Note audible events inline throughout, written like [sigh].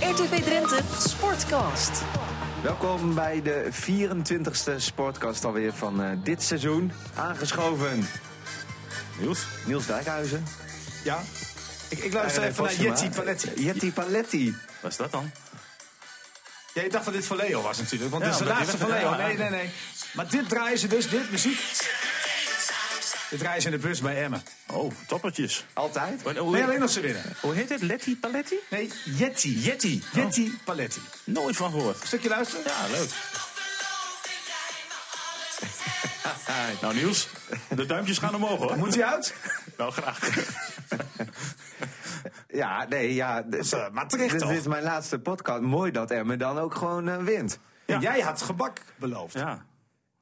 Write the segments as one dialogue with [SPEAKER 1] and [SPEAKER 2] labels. [SPEAKER 1] RTV Drenthe Sportcast.
[SPEAKER 2] Welkom bij de 24e Sportcast alweer van eh, dit seizoen. Aangeschoven
[SPEAKER 3] Niels?
[SPEAKER 2] Niels Dijkhuizen.
[SPEAKER 3] Ja? Ik, ik luister even naar
[SPEAKER 2] Postuma.
[SPEAKER 3] Jetty Paletti.
[SPEAKER 2] Jetty Paletti.
[SPEAKER 4] Wat is dat dan?
[SPEAKER 3] Ja, ik dacht dat dit van Leo was natuurlijk, want
[SPEAKER 4] Ja,
[SPEAKER 3] dit is de
[SPEAKER 4] maar die
[SPEAKER 3] laatste van
[SPEAKER 4] werd-
[SPEAKER 3] Leo.
[SPEAKER 4] ja, ja.
[SPEAKER 3] Nee, nee, nee. Maar dit draaien ze dus, dit muziek. Dit draaien ze in de bus bij Emmen.
[SPEAKER 4] Oh, toppertjes.
[SPEAKER 2] Altijd.
[SPEAKER 4] Wat-
[SPEAKER 3] Nee,
[SPEAKER 4] Hoe,
[SPEAKER 3] alleen als ze winnen.
[SPEAKER 4] hoe heet het? Letty Paletti?
[SPEAKER 3] Nee, Jetty.
[SPEAKER 4] Yeti.
[SPEAKER 3] Jetty Paletti.
[SPEAKER 4] Nooit van gehoord.
[SPEAKER 3] Stukje luisteren?
[SPEAKER 4] Oh. Ja, leuk. Nou Niels, de duimpjes gaan omhoog hoor.
[SPEAKER 3] Moet hij uit?
[SPEAKER 4] Nou graag.
[SPEAKER 2] Ja, nee, ja. d-
[SPEAKER 3] is, eh, maar terecht
[SPEAKER 2] dit
[SPEAKER 3] toch?
[SPEAKER 2] dit is mijn laatste podcast. Mooi dat Emmen dan ook gewoon eh, wint.
[SPEAKER 4] Ja.
[SPEAKER 3] En jij had gebak beloofd.
[SPEAKER 4] [laughs] Ja.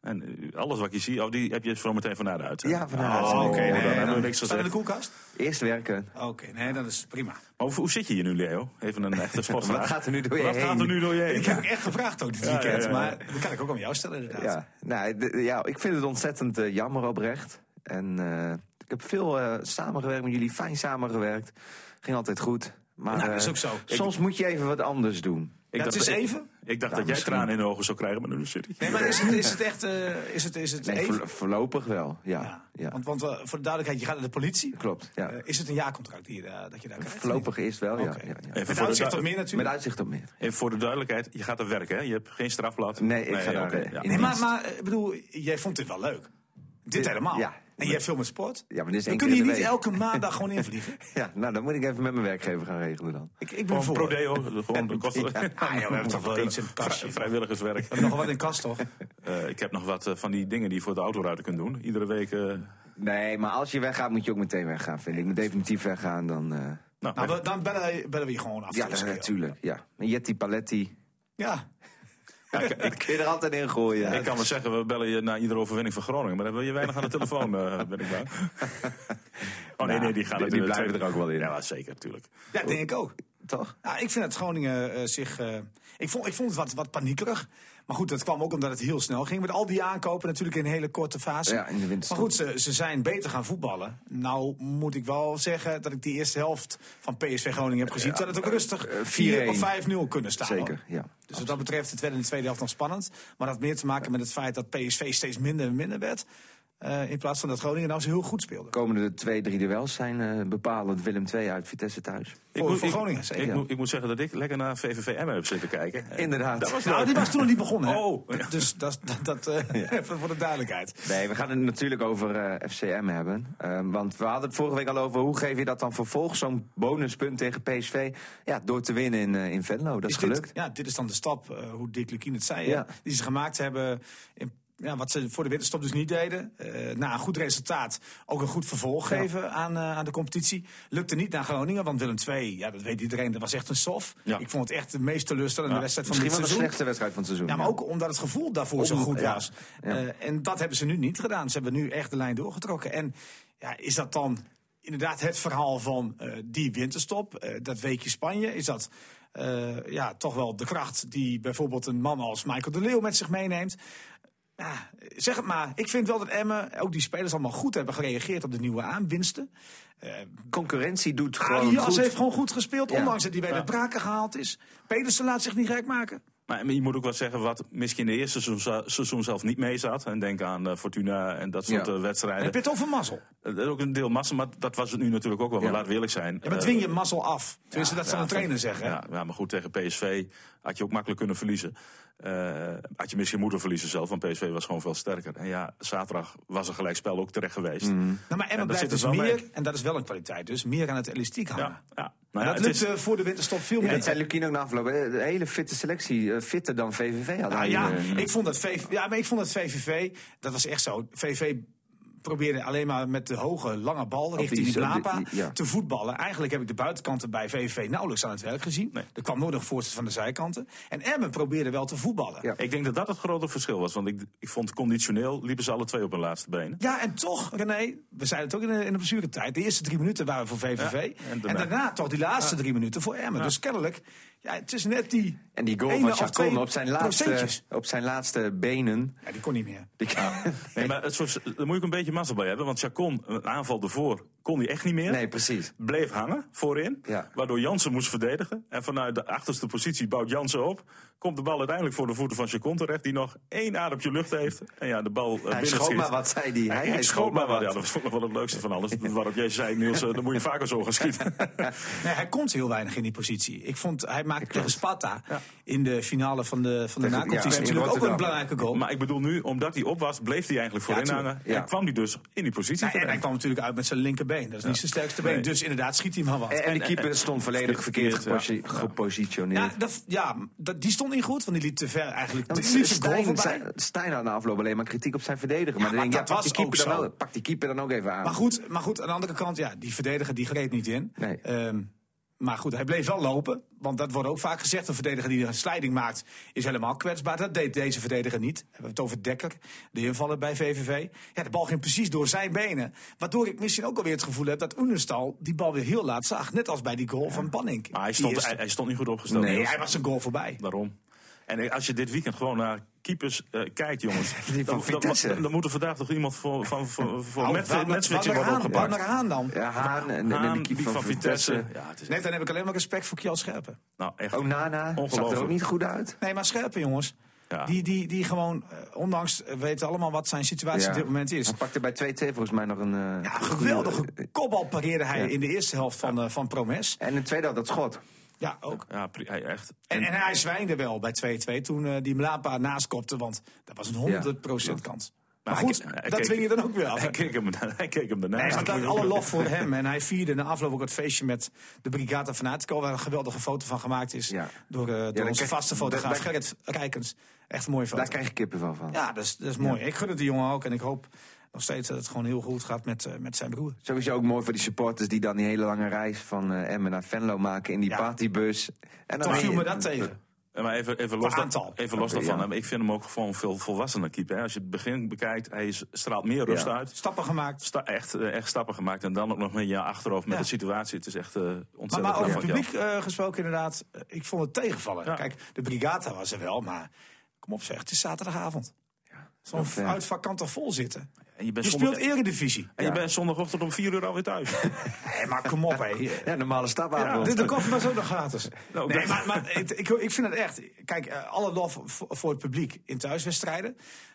[SPEAKER 4] En eh, alles wat ik hier zie, oh, die heb je zo meteen vanuit uit.
[SPEAKER 2] Ja, van de
[SPEAKER 3] Oh,
[SPEAKER 2] uitzending.
[SPEAKER 3] oké.
[SPEAKER 4] dan
[SPEAKER 3] nee,
[SPEAKER 4] hebben we
[SPEAKER 3] dan-
[SPEAKER 4] niks
[SPEAKER 3] Staat in de
[SPEAKER 4] gezegd.
[SPEAKER 3] koelkast?
[SPEAKER 2] Eerst werken.
[SPEAKER 3] Oké, nee, dat is prima.
[SPEAKER 4] Maar hoe, hoe zit je hier nu, Leo? Even een echte sportvraag.
[SPEAKER 2] Wat gaat er nu door je
[SPEAKER 4] Wat
[SPEAKER 2] heen?
[SPEAKER 4] gaat er nu door je heen?
[SPEAKER 3] Ik heb ook echt gevraagd ook dit
[SPEAKER 4] Ja, ja,
[SPEAKER 3] weekend,
[SPEAKER 4] ja, ja.
[SPEAKER 3] maar dat kan ik ook aan jou stellen inderdaad.
[SPEAKER 2] Ja, nou, d- ja, ik vind het ontzettend eh, jammer oprecht. En eh, ik heb veel eh, samengewerkt met jullie, fijn samengewerkt. Ging altijd goed. Maar
[SPEAKER 3] Nou, dat is
[SPEAKER 2] eh,
[SPEAKER 3] ook zo.
[SPEAKER 2] soms moet je even wat anders doen.
[SPEAKER 4] Ik
[SPEAKER 3] Ja, het
[SPEAKER 4] dacht-
[SPEAKER 3] is
[SPEAKER 4] ik-
[SPEAKER 3] even.
[SPEAKER 4] Ik dacht
[SPEAKER 2] Ja,
[SPEAKER 4] dat jij
[SPEAKER 2] misschien.
[SPEAKER 4] tranen in de ogen zou krijgen, maar nu zit ik.
[SPEAKER 3] Nee, maar is het, is het echt, eh, is het, is het
[SPEAKER 2] Nee,
[SPEAKER 3] even?
[SPEAKER 2] voor- voorlopig wel, ja.
[SPEAKER 3] Ja.
[SPEAKER 2] ja.
[SPEAKER 3] Want, want eh, voor de duidelijkheid, je gaat naar de politie.
[SPEAKER 2] Klopt, ja.
[SPEAKER 3] Eh, is het een jaarcontract die je, daar- dat je daar krijgt?
[SPEAKER 2] voorlopig eerst wel, ja. ja,
[SPEAKER 3] Oké.
[SPEAKER 2] ja.
[SPEAKER 4] Even voor
[SPEAKER 3] Met
[SPEAKER 4] de
[SPEAKER 3] uitzicht
[SPEAKER 4] du-
[SPEAKER 3] op meer
[SPEAKER 2] Met
[SPEAKER 3] natuurlijk.
[SPEAKER 2] uitzicht op meer.
[SPEAKER 4] Even voor de duidelijkheid, je gaat er werken, hè? Je hebt geen strafblad.
[SPEAKER 2] Nee, ik ga daar,
[SPEAKER 4] oké,
[SPEAKER 2] eh,
[SPEAKER 4] ja.
[SPEAKER 2] in-
[SPEAKER 3] Nee, maar, maar eh, ik bedoel, jij vond dit wel leuk. Dit
[SPEAKER 2] Dit-
[SPEAKER 3] helemaal.
[SPEAKER 2] ja.
[SPEAKER 3] En jij hebt veel met sport.
[SPEAKER 2] Ja, maar dit is
[SPEAKER 3] We
[SPEAKER 2] één
[SPEAKER 3] kunnen
[SPEAKER 2] keer
[SPEAKER 3] hier
[SPEAKER 2] in
[SPEAKER 3] niet
[SPEAKER 2] de week.
[SPEAKER 3] elke maandag
[SPEAKER 2] [laughs]
[SPEAKER 3] gewoon invliegen.
[SPEAKER 2] Ja, nou, dan moet ik even met mijn werkgever gaan regelen dan.
[SPEAKER 3] Ik, ik ben
[SPEAKER 4] Gewoon
[SPEAKER 3] voor.
[SPEAKER 4] pro deo, gewoon de kosten.
[SPEAKER 3] Ah, joh, we hebben
[SPEAKER 4] [laughs]
[SPEAKER 3] toch wel iets in het kastje.
[SPEAKER 4] Vrij- Vrijwilligerswerk.
[SPEAKER 3] We hebben nog wel wat in kast, toch?
[SPEAKER 4] Eh, ik heb nog wat eh, van die dingen die je voor de autoruiten kunt doen. Iedere week. eh,
[SPEAKER 2] Nee, maar als je weggaat, moet je ook meteen weggaan, vind ik. Ik moet definitief weggaan, dan... eh,
[SPEAKER 4] nou,
[SPEAKER 3] Nou, we- dan bellen, bellen we je gewoon af.
[SPEAKER 2] ja, dat- natuurlijk, ja. Een Yeti Paletti. [laughs]
[SPEAKER 3] Ja.
[SPEAKER 4] ja, ik, ik-
[SPEAKER 2] Kun je er altijd in gooien.
[SPEAKER 4] ik kan wel zeggen, we bellen je na iedere overwinning van Groningen. Maar dan wil je weinig aan de telefoon,
[SPEAKER 3] [laughs]
[SPEAKER 4] eh, ben ik bang.
[SPEAKER 3] Nou,
[SPEAKER 4] Oh nee,
[SPEAKER 2] Nou,
[SPEAKER 4] nee, die gaan
[SPEAKER 2] die-
[SPEAKER 4] er-
[SPEAKER 2] die blijven
[SPEAKER 4] twee-
[SPEAKER 2] er ook wel in.
[SPEAKER 4] Ja, maar zeker, natuurlijk.
[SPEAKER 3] ja, denk ik ook.
[SPEAKER 2] [laughs] Toch?
[SPEAKER 3] Ja, ik vind dat Groningen eh, zich. eh, ik, vond, ik vond het wat, wat paniekerig. Maar goed, dat kwam ook omdat het heel snel ging. Met al die aankopen natuurlijk in een hele korte fase.
[SPEAKER 2] Ja, in de winterstop.
[SPEAKER 3] maar goed, ze, ze zijn beter gaan voetballen. Nou moet ik wel zeggen dat ik die eerste helft van PSV Groningen heb gezien. dat het
[SPEAKER 2] eh,
[SPEAKER 3] ook rustig 4
[SPEAKER 2] 4-1.
[SPEAKER 3] of 5-0 kunnen staan.
[SPEAKER 2] Zeker,
[SPEAKER 3] hoor.
[SPEAKER 2] ja.
[SPEAKER 3] Dus wat dat betreft, het werd in de tweede helft nog spannend. Maar dat had meer te maken met het feit dat PSV steeds minder en minder werd. eh, in plaats van dat Groningen nou zo heel goed speelde.
[SPEAKER 2] Komende de twee, drie duels zijn eh, bepalend Willem 2 uit Vitesse thuis.
[SPEAKER 4] Ik
[SPEAKER 3] Voor-
[SPEAKER 4] moet,
[SPEAKER 3] voor
[SPEAKER 4] ik-
[SPEAKER 3] Groningen,
[SPEAKER 4] ik,
[SPEAKER 3] zeker.
[SPEAKER 4] moet, ik moet zeggen dat ik lekker naar VVV Emmen heb zitten kijken. En
[SPEAKER 2] Inderdaad.
[SPEAKER 4] Dat was
[SPEAKER 3] Nou,
[SPEAKER 4] leuk.
[SPEAKER 3] die was toen nog niet begonnen. hè?
[SPEAKER 4] Oh, ja.
[SPEAKER 3] Dus dat, dat, dat eh, [laughs] even voor de duidelijkheid.
[SPEAKER 2] Nee, we gaan het natuurlijk over eh, FCM hebben. Ehm, want we hadden het vorige week al over hoe geef je dat dan vervolgens, zo'n bonuspunt tegen PSV. Ja, door te winnen in, eh, in Venlo. Dat is
[SPEAKER 3] dit-
[SPEAKER 2] gelukt.
[SPEAKER 3] ja, dit is dan de stap, eh, hoe Dick Lukien het zei,
[SPEAKER 2] Ja.
[SPEAKER 3] hè, die ze gemaakt hebben. In, ja, wat ze voor de winterstop dus niet deden. Eh, na een goed resultaat ook een goed vervolg geven aan, eh, aan de competitie. Lukte niet naar Groningen, want Willem II, ja, dat weet iedereen, dat was echt een sof.
[SPEAKER 4] Ja.
[SPEAKER 3] Ik vond het echt de meest teleurstellende
[SPEAKER 4] Ja,
[SPEAKER 3] wedstrijd van
[SPEAKER 2] Misschien wel
[SPEAKER 3] dit
[SPEAKER 2] de
[SPEAKER 3] seizoen.
[SPEAKER 2] slechtste wedstrijd van het seizoen.
[SPEAKER 3] Ja, maar ook omdat het gevoel daarvoor zo
[SPEAKER 2] Om-
[SPEAKER 3] goed
[SPEAKER 2] ja,
[SPEAKER 3] was.
[SPEAKER 2] ja.
[SPEAKER 3] Eh, en dat hebben ze nu niet gedaan. Ze hebben nu echt de lijn doorgetrokken. En ja, is dat dan inderdaad het verhaal van eh, die winterstop, eh, dat weekje Spanje? Is dat eh, ja, toch wel de kracht die bijvoorbeeld een man als Michael de Leeuw met zich meeneemt? Ja, zeg het maar. Ik vind wel dat Emmen, ook die spelers allemaal goed hebben gereageerd op de nieuwe aanwinsten.
[SPEAKER 2] Concurrentie doet gewoon
[SPEAKER 3] Arias
[SPEAKER 2] goed.
[SPEAKER 3] heeft gewoon goed gespeeld,
[SPEAKER 2] Ja.
[SPEAKER 3] ondanks dat hij bij de braken gehaald is. Pedersen laat zich niet gek maken.
[SPEAKER 4] Maar je moet ook wel zeggen wat misschien de eerste seizoen, seizoen zelf niet mee zat. En denk aan eh, Fortuna en dat soort
[SPEAKER 2] Ja.
[SPEAKER 4] eh,
[SPEAKER 3] Dan
[SPEAKER 4] wedstrijden.
[SPEAKER 3] heb je het over mazzel.
[SPEAKER 4] Dat is ook een deel massa, maar dat was het nu natuurlijk ook wel. Maar
[SPEAKER 2] Ja.
[SPEAKER 4] laat we eerlijk zijn.
[SPEAKER 3] Ja, maar
[SPEAKER 4] eh,
[SPEAKER 3] dwing je mazzel af. Tenminste, dat zal
[SPEAKER 4] ja,
[SPEAKER 3] een trainer
[SPEAKER 4] van-
[SPEAKER 3] zeggen. hè?
[SPEAKER 4] Ja, ja, maar goed, tegen PSV had je ook makkelijk kunnen verliezen. Eh, had je misschien moeten verliezen zelf, want PSV was gewoon veel sterker. En ja, zaterdag was een gelijkspel ook terecht geweest.
[SPEAKER 3] Nou, maar Emma
[SPEAKER 4] daar
[SPEAKER 3] blijft
[SPEAKER 4] zit
[SPEAKER 3] dus
[SPEAKER 4] het wel
[SPEAKER 3] meer,
[SPEAKER 4] mee.
[SPEAKER 3] en dat is wel een kwaliteit, dus meer aan het elastiek hangen.
[SPEAKER 4] Ja, ja. Nou ja,
[SPEAKER 3] Ah. dat
[SPEAKER 4] het is-
[SPEAKER 3] lukt eh, voor de winterstop veel
[SPEAKER 2] Ja,
[SPEAKER 3] meer.
[SPEAKER 2] dat zei Lukien ook na afloop. Eh, Een hele fitte selectie. eh, Fitter dan VVV had
[SPEAKER 3] Nou
[SPEAKER 2] hij.
[SPEAKER 3] ja,
[SPEAKER 2] eh,
[SPEAKER 3] ik vond dat VV, ja, maar ik vond dat VVV, dat was echt zo. VV probeerde alleen maar met de hoge, lange bal richting die,
[SPEAKER 2] die-
[SPEAKER 4] eh,
[SPEAKER 2] op die-
[SPEAKER 3] Blapa
[SPEAKER 2] ja.
[SPEAKER 3] te voetballen. Eigenlijk heb ik de buitenkanten bij VVV nauwelijks aan het werk gezien.
[SPEAKER 4] Nee.
[SPEAKER 3] Er kwam nooit nog voorzet van de zijkanten. En Emmen probeerde wel te voetballen.
[SPEAKER 2] Ja.
[SPEAKER 4] Ik denk dat dat het grote verschil was. Want ik, ik vond conditioneel liepen ze alle twee op hun laatste benen.
[SPEAKER 3] Ja, en toch, René, we zeiden het ook in de, in de blessuretijd. De eerste drie minuten waren voor VVV.
[SPEAKER 4] Ja,
[SPEAKER 3] en,
[SPEAKER 4] en
[SPEAKER 3] daarna...
[SPEAKER 4] daarna-
[SPEAKER 3] toch die laatste drie minuten voor Emmen. Dus kennelijk, ja, het is net die.
[SPEAKER 2] En die goal
[SPEAKER 3] ene
[SPEAKER 2] van
[SPEAKER 3] of twee
[SPEAKER 2] Chacon op zijn, laatste,
[SPEAKER 3] procentjes.
[SPEAKER 2] op zijn laatste benen.
[SPEAKER 3] Ja, die kon niet meer.
[SPEAKER 2] Die-
[SPEAKER 4] Nee, maar het soort, dan moet je ook een beetje mazzel bij hebben. Want Chacon, een aanval ervoor, kon hij echt niet meer.
[SPEAKER 2] Nee, precies.
[SPEAKER 4] Bleef hangen voorin.
[SPEAKER 2] Ja.
[SPEAKER 4] Waardoor Jansen moest verdedigen. En vanuit de achterste positie bouwt Jansen op. Komt de bal uiteindelijk voor de voeten van Chacon terecht. Die nog één adempje lucht heeft. En ja, de bal eh,
[SPEAKER 2] Hij
[SPEAKER 4] binnen
[SPEAKER 2] schoot
[SPEAKER 4] schiet.
[SPEAKER 2] maar wat, zei die. Hij, hij schoot maar
[SPEAKER 4] Ja,
[SPEAKER 2] wat.
[SPEAKER 4] dat vond ik nog wel het leukste van alles. Waarop jij zei, Niels, eh, dan moet je vaker zo gaan
[SPEAKER 2] [laughs]
[SPEAKER 4] schieten.
[SPEAKER 3] Nee, hij komt heel weinig in die positie. Ik vond, hij maakte tegen Sparta in de finale van de, van de
[SPEAKER 2] Tegen-
[SPEAKER 3] nakomst.
[SPEAKER 2] ja, in
[SPEAKER 3] natuurlijk ook een
[SPEAKER 2] Rotterdam.
[SPEAKER 3] belangrijke goal.
[SPEAKER 4] Maar ik bedoel nu, omdat hij op was, bleef hij eigenlijk voorin
[SPEAKER 3] tuurlijk,
[SPEAKER 4] hangen.
[SPEAKER 2] ja.
[SPEAKER 4] En kwam hij dus in die positie
[SPEAKER 3] Nou, en
[SPEAKER 4] terecht.
[SPEAKER 3] hij kwam natuurlijk uit met zijn linkerbeen. Dat is niet zijn sterkste been.
[SPEAKER 4] Nee.
[SPEAKER 3] Dus inderdaad schiet hij maar wat.
[SPEAKER 2] En, en de keeper stond volledig verkeerd
[SPEAKER 4] Verkeerd, ja.
[SPEAKER 2] geposi- gepositioneerd.
[SPEAKER 3] ja, dat, ja dat, die stond niet goed, want die liep te ver eigenlijk.
[SPEAKER 2] Ja,
[SPEAKER 3] die
[SPEAKER 2] want
[SPEAKER 3] liep zijn goal
[SPEAKER 2] Stijn,
[SPEAKER 3] voorbij.
[SPEAKER 2] Stijn- Stijn had na afloop alleen maar kritiek op zijn verdediger. Maar,
[SPEAKER 3] Ja,
[SPEAKER 2] dan denk
[SPEAKER 3] maar
[SPEAKER 2] ik,
[SPEAKER 3] dat
[SPEAKER 2] ja, pak, die
[SPEAKER 3] was ook
[SPEAKER 2] keeper dan
[SPEAKER 3] zo.
[SPEAKER 2] ook, pak die keeper dan ook even aan.
[SPEAKER 3] Maar goed, maar goed, aan de andere kant, ja, die verdediger die greep niet in.
[SPEAKER 2] Nee.
[SPEAKER 3] Ehm, maar goed, hij bleef wel lopen. Want dat wordt ook vaak gezegd: een verdediger die een slijding maakt, is helemaal kwetsbaar. Dat deed deze verdediger niet. We hebben het over Dekker, de invaller bij VVV. Ja, de bal ging precies door zijn benen. Waardoor ik misschien ook alweer het gevoel heb dat Oenestal die bal weer heel laat zag. Net als bij die goal van Panink.
[SPEAKER 4] Maar hij
[SPEAKER 3] Die
[SPEAKER 4] stond,
[SPEAKER 3] eerste.
[SPEAKER 4] hij, hij stond niet goed opgesteld.
[SPEAKER 3] nee,
[SPEAKER 4] Niels.
[SPEAKER 3] hij was een goal voorbij.
[SPEAKER 4] Daarom. En eh, als je dit weekend gewoon naar keepers eh, kijkt, jongens.
[SPEAKER 3] [laughs]
[SPEAKER 2] Die van
[SPEAKER 4] dan, dan-
[SPEAKER 2] Vitesse.
[SPEAKER 4] dan, dan moet er vandaag toch iemand voor, van, voor, voor
[SPEAKER 3] Oh,
[SPEAKER 4] net,
[SPEAKER 3] waar-
[SPEAKER 4] net switching worden
[SPEAKER 3] waar naar Haan-
[SPEAKER 4] opgepakt.
[SPEAKER 3] waar naar Haan dan?
[SPEAKER 2] Ja, Haan en, en de
[SPEAKER 4] Haan,
[SPEAKER 2] keeper
[SPEAKER 4] die
[SPEAKER 2] van, Vitesse.
[SPEAKER 4] Ja, het is
[SPEAKER 3] Nee, Oh, dan heb ik alleen maar respect voor Kjell Scherpen.
[SPEAKER 4] nou echt.
[SPEAKER 2] Ook Nana zag er
[SPEAKER 4] Ongelooflijk.
[SPEAKER 2] ook niet goed uit.
[SPEAKER 3] Nee, maar scherpe jongens.
[SPEAKER 4] Ja.
[SPEAKER 3] Die, die, die gewoon, eh, ondanks eh, weten allemaal wat zijn situatie
[SPEAKER 2] Ja.
[SPEAKER 3] op dit moment is.
[SPEAKER 2] Hij pakte bij 2-2 volgens mij nog een... eh,
[SPEAKER 3] Ja, geweldige kopbal pareerde hij
[SPEAKER 2] Ja.
[SPEAKER 3] in de eerste helft van, eh, van Promes.
[SPEAKER 2] En in de tweede had dat schot.
[SPEAKER 3] Ja, ook.
[SPEAKER 4] Ja, pri- hij echt.
[SPEAKER 3] En, en hij zwijnde wel bij 2-2 toen eh, die Mlapa naast kopte, want dat was een 100% kans. Maar
[SPEAKER 4] hij
[SPEAKER 3] goed,
[SPEAKER 4] ke- hij
[SPEAKER 3] dat
[SPEAKER 4] keek-
[SPEAKER 3] dwing je dan ook weer af.
[SPEAKER 4] Hij keek hem, hij keek hem daarna.
[SPEAKER 3] Nee, want dan alle lof voor hem. En hij vierde na afloop ook het feestje met de Brigata Fanatico, waar een geweldige foto van gemaakt is
[SPEAKER 2] Ja.
[SPEAKER 3] door, eh, door
[SPEAKER 2] dan
[SPEAKER 3] onze
[SPEAKER 2] krijg-
[SPEAKER 3] vaste fotograaf
[SPEAKER 2] daar-
[SPEAKER 3] Gerrit Rijkens. Echt een mooie foto.
[SPEAKER 2] Daar krijg je kippenvel van.
[SPEAKER 3] Ja, dat is, dat is mooi. Ik gun het die jongen ook. En ik hoop nog steeds dat het gewoon heel goed gaat met, eh, met zijn broer.
[SPEAKER 2] Sowieso ook mooi voor die supporters die dan die hele lange reis van eh, Emmen naar Venlo maken in die
[SPEAKER 3] Ja.
[SPEAKER 2] partybus. En dan
[SPEAKER 3] Toch
[SPEAKER 2] ben
[SPEAKER 3] viel
[SPEAKER 2] je-
[SPEAKER 3] me dat tegen.
[SPEAKER 4] Ja, Maar even, even los,
[SPEAKER 3] Qua
[SPEAKER 4] da-
[SPEAKER 3] aantal.
[SPEAKER 4] even los
[SPEAKER 2] Oké,
[SPEAKER 4] daarvan.
[SPEAKER 2] ja.
[SPEAKER 4] hè, maar Ik vind hem ook gewoon veel volwassener keeper. hè. Als je het begin bekijkt, hij is- straalt meer rust
[SPEAKER 2] Ja.
[SPEAKER 4] uit.
[SPEAKER 3] Stappen gemaakt.
[SPEAKER 4] Sta- echt, eh, echt stappen gemaakt. En dan ook nog met je achterhoofd met
[SPEAKER 3] Ja.
[SPEAKER 4] de situatie. Het is echt eh,
[SPEAKER 3] Maar,
[SPEAKER 4] ontzettend
[SPEAKER 3] maar over
[SPEAKER 4] knap
[SPEAKER 3] het
[SPEAKER 4] van jou.
[SPEAKER 3] publiek eh, gesproken inderdaad, eh, ik vond het tegenvallen.
[SPEAKER 4] Ja.
[SPEAKER 3] Kijk, de Brigata was er wel, maar kom op zeg, het is zaterdagavond. Zo'n
[SPEAKER 2] dat, eh, ja.
[SPEAKER 3] uitvak kan toch vol zitten?
[SPEAKER 4] En je bent
[SPEAKER 3] Je
[SPEAKER 4] zondag-
[SPEAKER 3] speelt eredivisie. [laughs]
[SPEAKER 4] En je bent zondagochtend om 4 uur alweer thuis.
[SPEAKER 3] Nee, maar kom op hé.
[SPEAKER 2] Ja, normale
[SPEAKER 3] Ja,
[SPEAKER 2] stapavond.
[SPEAKER 3] de, de koffie was ook nog
[SPEAKER 2] [laughs]
[SPEAKER 3] gratis.
[SPEAKER 4] Nou,
[SPEAKER 3] nee,
[SPEAKER 4] dat-
[SPEAKER 3] maar, maar het- ik, ik vind het echt. Kijk, eh, alle lof voor, voor het publiek in thuiswedstrijden.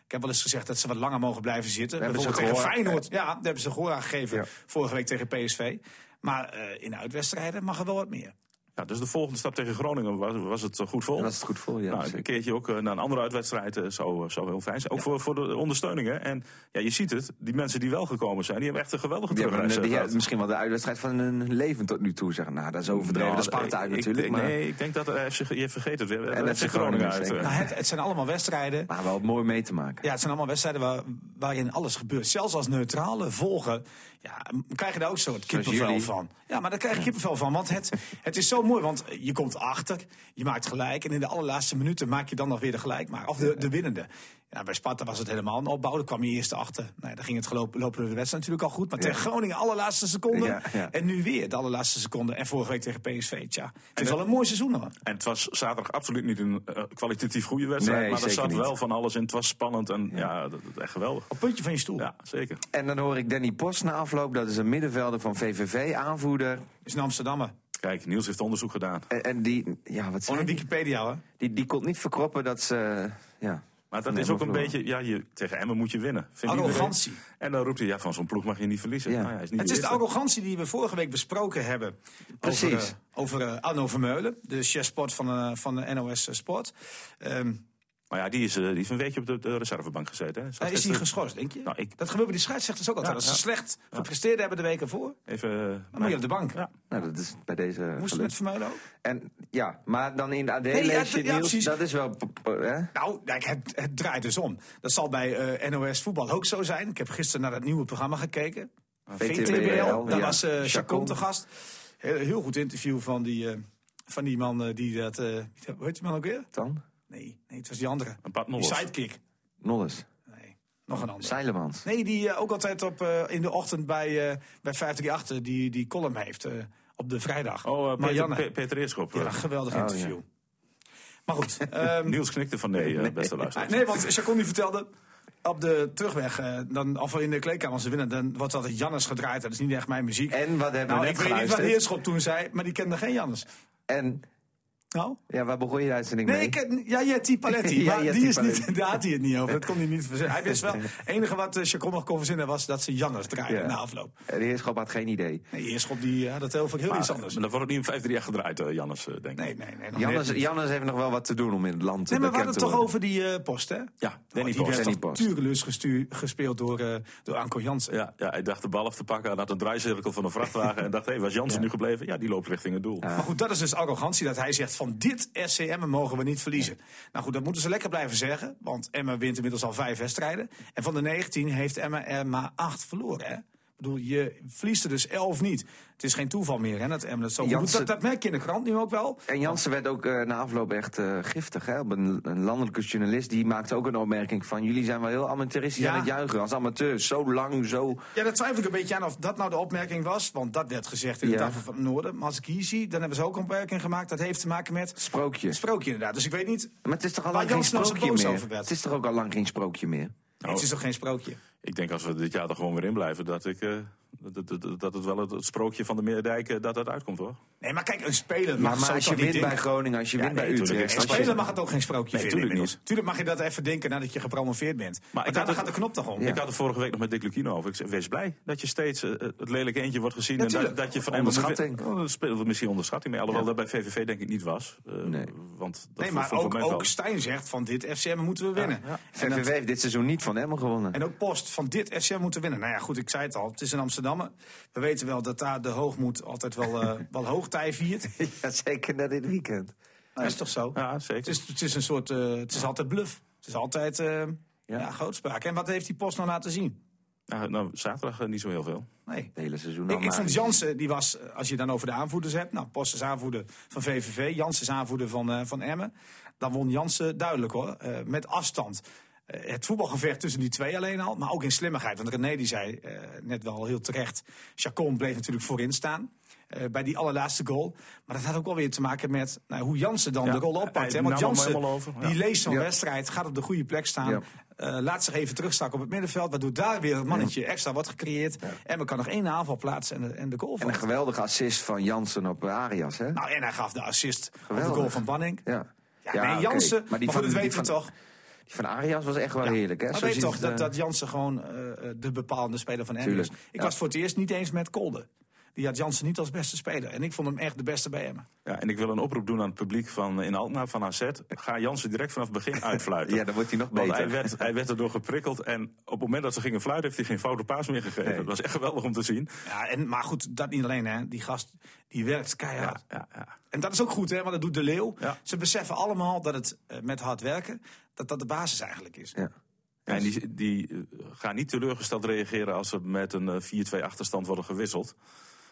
[SPEAKER 3] Ik heb wel eens gezegd dat ze wat langer mogen blijven zitten.
[SPEAKER 2] hebben ze
[SPEAKER 3] Bijvoorbeeld tegen
[SPEAKER 2] gehoor.
[SPEAKER 3] Feyenoord. Ja, daar hebben ze gehoor aan gegeven.
[SPEAKER 2] Ja.
[SPEAKER 3] Vorige week tegen PSV. Maar eh, in uitwedstrijden mag er wel wat
[SPEAKER 2] [laughs]
[SPEAKER 3] meer.
[SPEAKER 4] Ja, dus de volgende stap tegen Groningen was, was het eh, goed vol.
[SPEAKER 2] Dat is het goed voor, ja.
[SPEAKER 4] nou, een
[SPEAKER 2] zeker.
[SPEAKER 4] keertje ook eh, naar een andere uitwedstrijd eh, zou, zou heel fijn zijn. Ook voor, voor de ondersteuning. Hè. En ja, je ziet het, die mensen die wel gekomen zijn, die hebben echt een geweldige
[SPEAKER 2] Die hebben
[SPEAKER 4] terugreis.
[SPEAKER 2] een-
[SPEAKER 4] eh,
[SPEAKER 2] die
[SPEAKER 4] gehad.
[SPEAKER 2] hebben misschien wel de uitwedstrijd van hun leven tot nu toe. Zeggen. Nou, dat is overdreven.
[SPEAKER 4] Nou,
[SPEAKER 2] dat is Sparta uit
[SPEAKER 4] ik- ik
[SPEAKER 2] natuurlijk.
[SPEAKER 4] denk-
[SPEAKER 2] maar,
[SPEAKER 4] Nee, ik denk dat eh, FC je vergeet het. weer.
[SPEAKER 2] En
[SPEAKER 4] Eh,
[SPEAKER 2] FC
[SPEAKER 4] FC
[SPEAKER 2] Groningen,
[SPEAKER 4] Groningen uit.
[SPEAKER 2] zeker.
[SPEAKER 4] eh.
[SPEAKER 3] Nou, het, het zijn allemaal wedstrijden.
[SPEAKER 2] maar wel mooi mee te maken.
[SPEAKER 3] Ja, het zijn allemaal wedstrijden waar, waarin alles gebeurt. Zelfs als neutrale volgen ja, m- krijg je daar ook zo'n kippenvel
[SPEAKER 2] jullie.
[SPEAKER 3] van. Ja, maar daar krijg je kippenvel van. Want het, het is zo mooi, want je komt achter, je maakt gelijk. En in de allerlaatste minuten maak je dan nog weer de gelijk. Maar, of de, de winnende. Ja, bij Sparta was het helemaal een opbouw. Daar kwam je eerst achter. Nou, daar ging het gelopen, lopende de wedstrijd natuurlijk al goed. Maar tegen Groningen, allerlaatste seconde.
[SPEAKER 2] Ja, ja.
[SPEAKER 3] En nu weer de allerlaatste seconde. En vorige week tegen PSV. Tja, het is wel een mooi seizoen hoor.
[SPEAKER 4] En het was zaterdag absoluut niet een eh, kwalitatief goede wedstrijd.
[SPEAKER 2] Nee,
[SPEAKER 4] maar er
[SPEAKER 2] zeker
[SPEAKER 4] zat
[SPEAKER 2] niet.
[SPEAKER 4] wel van alles in. Het was spannend en ja, dat, dat- echt geweldig.
[SPEAKER 3] Op puntje van je stoel.
[SPEAKER 4] Ja, zeker.
[SPEAKER 2] En dan hoor ik Danny Post na afloop. Dat is een middenvelder van VVV, aanvoerder.
[SPEAKER 3] Is een Amsterdammer.
[SPEAKER 4] Kijk, Niels heeft onderzoek gedaan.
[SPEAKER 2] En, en die, ja, wat zei
[SPEAKER 3] Onder
[SPEAKER 2] die?
[SPEAKER 3] Wikipedia hoor.
[SPEAKER 2] Die, die kon niet verkroppen dat ze... Ja.
[SPEAKER 4] Maar dat
[SPEAKER 2] Nee,
[SPEAKER 4] is ook
[SPEAKER 2] maar
[SPEAKER 4] een
[SPEAKER 2] verloren.
[SPEAKER 4] beetje, ja, je, tegen Emmen moet je winnen. Vindt
[SPEAKER 3] Arrogantie.
[SPEAKER 4] iedereen. En dan roept hij, ja, van zo'n ploeg mag je niet verliezen.
[SPEAKER 2] Ja.
[SPEAKER 4] Nou ja, hij is niet
[SPEAKER 3] Het is de
[SPEAKER 4] eerste.
[SPEAKER 3] arrogantie die we vorige week besproken hebben.
[SPEAKER 2] Precies.
[SPEAKER 3] Over, eh, over eh, Arno Vermeulen, de chef sport van, eh, van de NOS Sport. Ehm,
[SPEAKER 4] Maar ja, die is, eh, die heeft een weekje op de, de reservebank gezeten. Hè. Zat
[SPEAKER 3] daar is hij
[SPEAKER 4] gisteren-
[SPEAKER 3] geschorst, denk je?
[SPEAKER 4] Nou, ik-
[SPEAKER 3] Dat gebeurt bij die scheidsrechters ook altijd.
[SPEAKER 4] Ja,
[SPEAKER 3] Als ze
[SPEAKER 4] ja.
[SPEAKER 3] slecht gepresteerd hebben de week ervoor,
[SPEAKER 4] Even, eh,
[SPEAKER 3] dan moet je op de bank.
[SPEAKER 4] Ja.
[SPEAKER 2] Nou, dat is bij deze...
[SPEAKER 3] Moest het
[SPEAKER 2] gelukt.
[SPEAKER 3] met Vermeulen ook?
[SPEAKER 2] En ja, maar dan in de AD
[SPEAKER 3] Nee, ja,
[SPEAKER 2] lees je
[SPEAKER 3] ja,
[SPEAKER 2] nieuws,
[SPEAKER 3] precies.
[SPEAKER 2] dat is wel... eh, Hè?
[SPEAKER 3] Nou, kijk, het, het draait dus om. Dat zal bij eh, NOS Voetbal ook zo zijn. Ik heb gisteren naar het nieuwe programma gekeken.
[SPEAKER 2] VTBL,
[SPEAKER 3] VTBL, daar
[SPEAKER 2] ja.
[SPEAKER 3] was eh Chacon
[SPEAKER 2] Chacon.
[SPEAKER 3] te gast. Heel, heel goed interview van die, eh, van die man eh, die dat... eh, hoe heet die man ook weer?
[SPEAKER 2] Dan?
[SPEAKER 3] Nee, nee, het was die andere.
[SPEAKER 4] Een Pat
[SPEAKER 3] Die
[SPEAKER 4] Nolles.
[SPEAKER 3] sidekick.
[SPEAKER 2] Nolles.
[SPEAKER 3] Nee, nog
[SPEAKER 2] Oh,
[SPEAKER 3] een ander.
[SPEAKER 2] Seilemans.
[SPEAKER 3] Nee, die eh, ook altijd op, eh, in de ochtend bij, eh bij 538 die, die column heeft eh, op de vrijdag.
[SPEAKER 4] Oh, eh, Peter,
[SPEAKER 3] Marianne.
[SPEAKER 4] Pe- Peter Eerschop. eh.
[SPEAKER 3] Ja, geweldig
[SPEAKER 2] Oh,
[SPEAKER 3] interview. Maar goed.
[SPEAKER 2] [laughs]
[SPEAKER 3] ehm,
[SPEAKER 4] Niels knikte van nee, eh, beste luisteraar.
[SPEAKER 3] nee, want Chacon die vertelde... op de terugweg, eh, dan, of in de kleedkamer als ze winnen, dan wordt altijd Jannes gedraaid. Dat is niet echt mijn muziek.
[SPEAKER 2] En wat hebben
[SPEAKER 3] nou,
[SPEAKER 2] we net
[SPEAKER 3] ik weet niet wat
[SPEAKER 2] geluisterd?
[SPEAKER 3] Heerschop toen zei, maar die kende geen Jannes.
[SPEAKER 2] En
[SPEAKER 3] Nou?
[SPEAKER 2] ja, waar begon je de uitzending
[SPEAKER 3] Nee,
[SPEAKER 2] mee?
[SPEAKER 3] ik ken- ja, Jetty Paletti.
[SPEAKER 2] Ja,
[SPEAKER 3] maar
[SPEAKER 2] Jetty
[SPEAKER 3] die is
[SPEAKER 2] Paletti.
[SPEAKER 3] niet, [laughs] daar had hij het niet over. Dat kon hij niet verzinnen. Hij wist wel, het enige wat eh, Chacon nog kon verzinnen was dat ze Jannes draaiden
[SPEAKER 2] Ja.
[SPEAKER 3] na afloop.
[SPEAKER 2] De heerschap had geen idee.
[SPEAKER 3] Nee, Heerschop die eh, had het heel veel heel
[SPEAKER 4] Maar,
[SPEAKER 3] iets
[SPEAKER 4] maar
[SPEAKER 3] anders.
[SPEAKER 4] dan wordt het niet in 5 3 gedraaid, eh, Jannes, eh, denk ik.
[SPEAKER 3] Nee, nee, nee. nog
[SPEAKER 2] Jannes,
[SPEAKER 3] meer.
[SPEAKER 2] Jannes heeft nog wel wat te doen om in het land te
[SPEAKER 3] Nee, maar we
[SPEAKER 2] bekend
[SPEAKER 3] hadden
[SPEAKER 2] te
[SPEAKER 3] het toch
[SPEAKER 2] worden.
[SPEAKER 3] over die eh, post, hè?
[SPEAKER 4] Ja,
[SPEAKER 3] Oh,
[SPEAKER 4] Danny
[SPEAKER 3] die
[SPEAKER 4] Post.
[SPEAKER 3] werd
[SPEAKER 2] Danny
[SPEAKER 3] toch
[SPEAKER 2] Post.
[SPEAKER 3] tureloos gestu- gespeeld door, eh, door Anko Jansen.
[SPEAKER 4] Ja, ja, hij dacht de bal af te pakken. Hij had een draaicirkel van een vrachtwagen. en dacht, hé, hey, was Jansen nu gebleven? Ja, die loopt richting het doel.
[SPEAKER 3] Maar goed, dat is dus arrogantie dat hij zegt van dit SCM mogen we niet verliezen. Nou goed, dat moeten ze lekker blijven zeggen, want Emma wint inmiddels al vijf wedstrijden. En van de 19 heeft Emma er maar acht verloren, hè? Ik bedoel, je verliest er dus elf niet. Het is geen toeval meer, hè, dat Emma dat zo goed doet.
[SPEAKER 2] Jansen-
[SPEAKER 3] Dat, dat merk je in de krant nu ook wel.
[SPEAKER 2] En Jansen werd ook eh, na afloop echt eh, giftig. Hè? Op een, een landelijke journalist die maakte ook een opmerking van... jullie zijn wel heel amateuristisch
[SPEAKER 3] Ja.
[SPEAKER 2] aan het juichen. Als amateur, zo lang, zo...
[SPEAKER 3] Ja, daar twijfel ik een beetje aan of dat nou de opmerking was. Want dat werd gezegd in de
[SPEAKER 2] Ja.
[SPEAKER 3] tafel van het Noorden. Maar als ik hier zie, dan hebben ze ook een opmerking gemaakt. Dat heeft te maken met
[SPEAKER 2] Sprookje.
[SPEAKER 3] een sprookje inderdaad. Dus ik weet niet,
[SPEAKER 2] Maar het is toch al
[SPEAKER 3] Waar
[SPEAKER 2] lang geen
[SPEAKER 3] Jansen nou zo
[SPEAKER 2] sprookje
[SPEAKER 3] boos over
[SPEAKER 2] meer?
[SPEAKER 3] werd.
[SPEAKER 2] Het is toch ook al lang geen sprookje meer?
[SPEAKER 3] het is toch geen sprookje?
[SPEAKER 4] Ik denk als we dit jaar er gewoon weer in blijven, dat, ik, eh, dat, dat, dat het wel het, het sprookje van de Meerdijk eh, dat dat uitkomt hoor.
[SPEAKER 3] Nee, maar kijk, een speler
[SPEAKER 2] Ja,
[SPEAKER 3] mag
[SPEAKER 2] maar
[SPEAKER 3] zo
[SPEAKER 2] als
[SPEAKER 3] toch
[SPEAKER 2] je
[SPEAKER 3] niet
[SPEAKER 2] wint bij
[SPEAKER 3] denken.
[SPEAKER 2] Groningen, als je wint bij
[SPEAKER 4] nee, tuurlijk.
[SPEAKER 2] Utrecht...
[SPEAKER 3] Een
[SPEAKER 2] als je-
[SPEAKER 3] speler mag het ook geen sprookje vinden.
[SPEAKER 4] tuurlijk
[SPEAKER 3] inmiddels. Tuurlijk mag je dat even denken nadat je gepromoveerd bent. Maar
[SPEAKER 4] ik
[SPEAKER 3] daarna
[SPEAKER 4] had
[SPEAKER 3] gaat de
[SPEAKER 4] het-
[SPEAKER 3] knop toch om.
[SPEAKER 4] Ik had het vorige week nog met Dick Lucchino over. Ik zei, wees blij dat je steeds eh, het lelijke eentje wordt gezien. en dat,
[SPEAKER 3] tuurlijk.
[SPEAKER 4] dat je van
[SPEAKER 2] Onderschatting.
[SPEAKER 4] Oh, dat speelde we misschien onderschatting mee. Alhoewel dat bij VVV denk ik niet was. Eh,
[SPEAKER 2] Nee.
[SPEAKER 4] Want dat
[SPEAKER 3] nee,
[SPEAKER 4] voor-
[SPEAKER 3] maar
[SPEAKER 4] voor
[SPEAKER 3] ook,
[SPEAKER 4] mij wel.
[SPEAKER 3] ook Stijn zegt van dit FCM moeten we winnen. En, dat-
[SPEAKER 2] VVV heeft dit seizoen niet van Emmen gewonnen.
[SPEAKER 3] en ook Post van dit FCM moeten winnen. Nou ja, goed, ik zei het al. Het is in Amsterdam. We weten wel dat daar de hoogmoed altijd wel, eh, wel hoogtij viert.
[SPEAKER 2] Ja, zeker na dit weekend.
[SPEAKER 3] Dat is toch zo?
[SPEAKER 4] Ja,
[SPEAKER 3] Het,
[SPEAKER 4] zeker.
[SPEAKER 3] is, het is een soort, eh, het is altijd bluff. Het is altijd eh, ja. grootspraak. En wat heeft die Post nou laten zien?
[SPEAKER 4] Nou, nou, zaterdag eh, niet zo heel veel.
[SPEAKER 3] Nee.
[SPEAKER 2] Het hele seizoen al
[SPEAKER 3] Ik, ik
[SPEAKER 2] maar-
[SPEAKER 3] vond Jansen, die was, eh, als je het dan over de aanvoerders hebt. Nou, Post is aanvoerder van VVV, Jansen is aanvoerder van, eh, van Emmen. Dan won Jansen duidelijk hoor, eh, met afstand. Eh, het voetbalgevecht tussen die twee alleen al, maar ook in slimmigheid. Want René die zei eh, net wel heel terecht, Chacon bleef natuurlijk voorin staan. eh, bij die allerlaatste goal. Maar dat had ook wel weer te maken met nou, hoe Jansen dan
[SPEAKER 4] Ja,
[SPEAKER 3] de rol
[SPEAKER 4] hij
[SPEAKER 3] oppakt. hè. Want
[SPEAKER 4] nam hem
[SPEAKER 3] Jansen
[SPEAKER 4] helemaal over, ja.
[SPEAKER 3] die leest zo'n
[SPEAKER 2] Ja.
[SPEAKER 3] wedstrijd, gaat op de goede plek staan.
[SPEAKER 2] Ja.
[SPEAKER 3] eh, laat zich even terugstakken op het middenveld. Waardoor daar weer een mannetje extra wordt gecreëerd. En we kan nog één aanval plaatsen en de, en de goal
[SPEAKER 2] En
[SPEAKER 3] van.
[SPEAKER 2] een geweldige assist van Jansen op Arias, hè?
[SPEAKER 3] Nou, en hij gaf de assist op
[SPEAKER 2] Geweldig.
[SPEAKER 3] de goal van Banning.
[SPEAKER 2] ja.
[SPEAKER 3] Ja, nee,
[SPEAKER 2] oké.
[SPEAKER 3] Jansen, maar,
[SPEAKER 2] die
[SPEAKER 3] goed, dat
[SPEAKER 2] die
[SPEAKER 3] weten we
[SPEAKER 2] van-
[SPEAKER 3] toch.
[SPEAKER 2] Die van Arias was echt wel heerlijk, hè?
[SPEAKER 3] Maar
[SPEAKER 2] Zo
[SPEAKER 3] weet
[SPEAKER 2] ziet
[SPEAKER 3] toch
[SPEAKER 2] het,
[SPEAKER 3] dat,
[SPEAKER 2] eh,
[SPEAKER 3] dat Jansen gewoon eh, eh, de bepalende speler van Emmen is.
[SPEAKER 2] Tuurlijk,
[SPEAKER 3] Ik
[SPEAKER 2] ja.
[SPEAKER 3] was voor het eerst niet eens met Kolde. Die had Jansen niet als beste speler. En ik vond hem echt de beste bij Emmen.
[SPEAKER 4] Ja, en ik wil een oproep doen aan het publiek van, in Alkmaar van AZ. Ga Jansen direct vanaf het
[SPEAKER 3] [laughs]
[SPEAKER 4] begin uitfluiten.
[SPEAKER 2] Ja, dan wordt hij nog
[SPEAKER 4] Want
[SPEAKER 2] beter.
[SPEAKER 4] hij werd, hij werd erdoor geprikkeld. En op het moment dat ze gingen fluiten, heeft hij geen foute paas meer gegeven.
[SPEAKER 2] Nee.
[SPEAKER 4] Dat was echt geweldig om te zien.
[SPEAKER 3] Ja, en, maar goed, dat niet alleen. Hè. Die gast die werkt keihard.
[SPEAKER 4] Ja, ja.
[SPEAKER 3] En dat is ook goed, hè, want dat doet de leeuw.
[SPEAKER 4] Ja.
[SPEAKER 3] Ze beseffen allemaal dat het eh, met hard werken, dat dat de basis eigenlijk is.
[SPEAKER 2] Ja.
[SPEAKER 4] Ja, en die, die eh, gaan niet teleurgesteld reageren als ze met een eh, 4-2 achterstand worden gewisseld.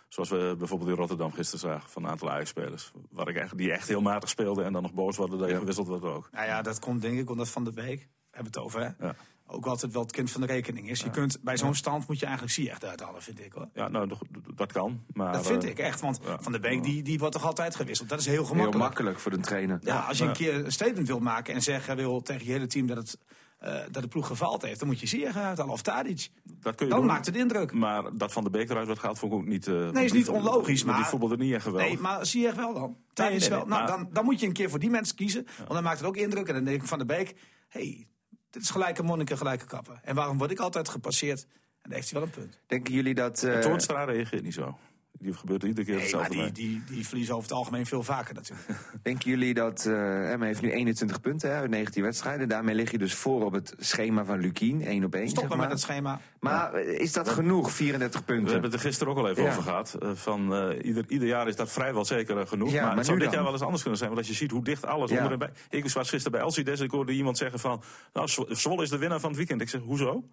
[SPEAKER 4] Zoals we bijvoorbeeld in Rotterdam gisteren zagen van een aantal Ajax-spelers. Waar ik echt, die echt heel matig speelden en dan nog boos worden dat je gewisseld wordt ook.
[SPEAKER 3] Nou ja, dat komt denk ik omdat Van de Beek, we hebben het over, hè?
[SPEAKER 4] Ja.
[SPEAKER 3] ook altijd wel het kind van de rekening is. Je kunt, bij zo'n stand moet je eigenlijk zie echt uithalen, vind ik hoor.
[SPEAKER 4] Ja, nou, dat- dat kan. Maar,
[SPEAKER 3] Dat vind
[SPEAKER 4] eh,
[SPEAKER 3] ik echt, want
[SPEAKER 4] ja.
[SPEAKER 3] Van de Beek die, die wordt toch altijd gewisseld. Dat is heel
[SPEAKER 2] Heel
[SPEAKER 3] gemakkelijk.
[SPEAKER 2] makkelijk voor de trainer.
[SPEAKER 3] Ja, als je een keer een statement wil maken en zeggen wil tegen je hele team dat, het, eh, dat de ploeg gefaald heeft, dan moet je Ziyech uithalen of Tadic.
[SPEAKER 4] Dat kun je
[SPEAKER 3] Dan
[SPEAKER 4] doen.
[SPEAKER 3] maakt het indruk.
[SPEAKER 4] Maar dat Van de Beek eruit werd gehaald vond ik ook niet... eh, want
[SPEAKER 3] is
[SPEAKER 4] die
[SPEAKER 3] niet
[SPEAKER 4] vo-
[SPEAKER 3] onlogisch,
[SPEAKER 4] Die
[SPEAKER 3] maar-
[SPEAKER 4] voetbalde niet echt geweldig.
[SPEAKER 3] Nee, maar Ziyech wel dan. Tadic
[SPEAKER 4] nee,
[SPEAKER 3] wel.
[SPEAKER 4] nee,
[SPEAKER 3] nou,
[SPEAKER 4] maar-
[SPEAKER 3] dan, dan moet je een keer voor die mensen kiezen, want dan maakt het ook indruk. En dan denk ik Van de Beek, hey, dit is gelijke monniken, gelijke kappen. En waarom word ik altijd gepasseerd? En dan heeft hij wel een punt.
[SPEAKER 2] Denken jullie dat... eh,
[SPEAKER 4] Toornstra reageert niet zo. Die gebeurt er iedere keer
[SPEAKER 3] Nee, maar
[SPEAKER 4] hetzelfde
[SPEAKER 3] die,
[SPEAKER 4] mee.
[SPEAKER 3] die, die verliezen over het algemeen veel vaker natuurlijk.
[SPEAKER 2] Denken jullie dat eh Emma heeft nu 21 punten hè, uit 19 wedstrijden? Daarmee lig je dus voor op het schema van Lukien, 1 op 1.
[SPEAKER 3] Stop
[SPEAKER 2] zeg
[SPEAKER 3] maar
[SPEAKER 2] maar
[SPEAKER 3] met dat schema.
[SPEAKER 2] Maar eh, is dat genoeg, 34
[SPEAKER 4] We
[SPEAKER 2] punten?
[SPEAKER 4] hebben het er gisteren ook al even
[SPEAKER 2] Ja.
[SPEAKER 4] over gehad. eh, van, eh, ieder, ieder jaar is dat vrijwel zeker eh, genoeg.
[SPEAKER 2] Ja,
[SPEAKER 4] maar,
[SPEAKER 2] maar
[SPEAKER 4] het zou
[SPEAKER 2] nu
[SPEAKER 4] dit
[SPEAKER 2] dan?
[SPEAKER 4] jaar wel eens anders kunnen zijn. Want als je ziet hoe dicht alles
[SPEAKER 2] Ja.
[SPEAKER 4] onder en bij... Ik was gisteren bij Elsides en ik hoorde iemand zeggen van... Nou, Zw- Zwolle is de winnaar van het weekend. Ik zeg, hoezo?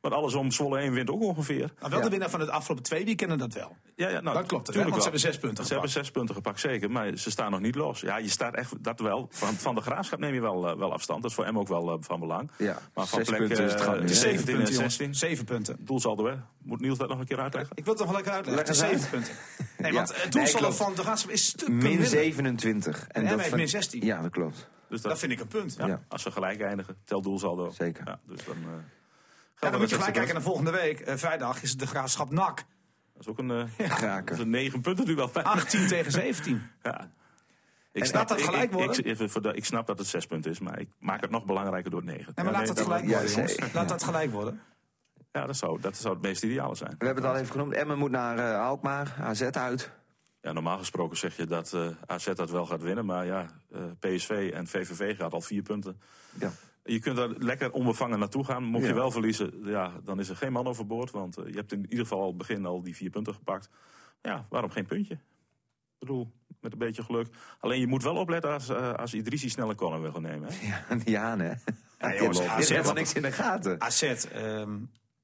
[SPEAKER 4] Want alles om Zwolle 1 wint ook ongeveer.
[SPEAKER 3] Nou, wel
[SPEAKER 2] Ja.
[SPEAKER 3] de winnaar van het afgelopen twee weekenden, dat wel.
[SPEAKER 4] Ja, ja, nou,
[SPEAKER 3] Dat klopt, hè,
[SPEAKER 4] tuurlijk
[SPEAKER 3] want ze
[SPEAKER 4] wel.
[SPEAKER 3] hebben zes punten
[SPEAKER 4] Ze hebben zes punten gepakt, zeker. Maar ze staan nog niet los. Ja, je staat echt, dat wel. Van, van de graafschap neem je wel, eh, wel afstand. Dat is voor hem ook wel eh, van belang.
[SPEAKER 2] Ja,
[SPEAKER 4] maar van
[SPEAKER 2] zes
[SPEAKER 4] plek
[SPEAKER 2] punten is het
[SPEAKER 4] eh,
[SPEAKER 2] gewoon nu, hè?
[SPEAKER 3] Zeven
[SPEAKER 4] 17 en
[SPEAKER 3] punten, jongens.
[SPEAKER 4] 16.
[SPEAKER 3] Zeven punten.
[SPEAKER 4] Doelsaldo, hè? Moet Niels dat nog een keer uitleggen?
[SPEAKER 3] Ik wil het nog wel lekker uitleggen. Het is
[SPEAKER 2] Leg eens
[SPEAKER 3] zeven punten. Nee,
[SPEAKER 2] Ja.
[SPEAKER 3] want het
[SPEAKER 2] Nee,
[SPEAKER 3] doelsaldo
[SPEAKER 2] klopt.
[SPEAKER 3] van de Graafschap is stukken
[SPEAKER 2] Min
[SPEAKER 3] minder.
[SPEAKER 2] 27.
[SPEAKER 3] En Emma
[SPEAKER 2] dat
[SPEAKER 3] heeft
[SPEAKER 2] van-
[SPEAKER 3] min 16.
[SPEAKER 2] Ja, dat klopt.
[SPEAKER 4] Dus dat,
[SPEAKER 3] Dat vind ik een punt.
[SPEAKER 4] ja,
[SPEAKER 2] ja.
[SPEAKER 4] Als ze gelijk eindigen, tel doelsaldo.
[SPEAKER 2] Zeker.
[SPEAKER 4] Ja, dus dan, eh,
[SPEAKER 3] Ja, dan moet je
[SPEAKER 4] wedstrijd
[SPEAKER 3] gelijk kijken
[SPEAKER 4] best.
[SPEAKER 3] naar volgende week. Eh, vrijdag is het de graafschap NAC.
[SPEAKER 4] Dat is ook een,
[SPEAKER 3] [laughs]
[SPEAKER 4] eh, dat is
[SPEAKER 2] Kraken.
[SPEAKER 4] een 9 punten nu wel.
[SPEAKER 3] 18 tegen 17.
[SPEAKER 4] [laughs] Ja. Ik
[SPEAKER 2] En
[SPEAKER 3] laat dat
[SPEAKER 4] ik-
[SPEAKER 3] gelijk
[SPEAKER 4] ik,
[SPEAKER 3] worden.
[SPEAKER 4] Ik, even voor de- ik snap dat het 6 punten is, maar ik maak het nog belangrijker door het 9.
[SPEAKER 3] Nee, maar laat dat
[SPEAKER 2] dat-
[SPEAKER 3] gelijk
[SPEAKER 2] ja,
[SPEAKER 3] worden,
[SPEAKER 2] zeker.
[SPEAKER 3] jongens. Laat dat gelijk worden.
[SPEAKER 4] Ja, dat zou, dat zou het meest ideale zijn.
[SPEAKER 2] We hebben het al even genoemd. Emmen moet naar eh, Alkmaar, AZ uit.
[SPEAKER 4] Ja, normaal gesproken zeg je dat eh, AZ dat wel gaat winnen. Maar ja, eh, PSV en VVV gaat al vier punten.
[SPEAKER 2] Ja.
[SPEAKER 4] Je kunt daar lekker onbevangen naartoe gaan. Mocht
[SPEAKER 2] Ja.
[SPEAKER 4] je wel verliezen, ja, dan is er geen man overboord. Want eh, je hebt in ieder geval al het begin al die vier punten gepakt. Ja, waarom geen puntje? Ik bedoel, met een beetje geluk. Alleen je moet wel opletten als, eh, als Idrissi snelle corner wil gaan nemen. Hè?
[SPEAKER 2] Ja, [laughs] die Haan, hè.
[SPEAKER 3] Ja,
[SPEAKER 2] [laughs]
[SPEAKER 3] jongens,
[SPEAKER 2] Die
[SPEAKER 3] AZ
[SPEAKER 2] heeft helemaal
[SPEAKER 3] had-
[SPEAKER 2] niks in de gaten.
[SPEAKER 3] AZ ehm,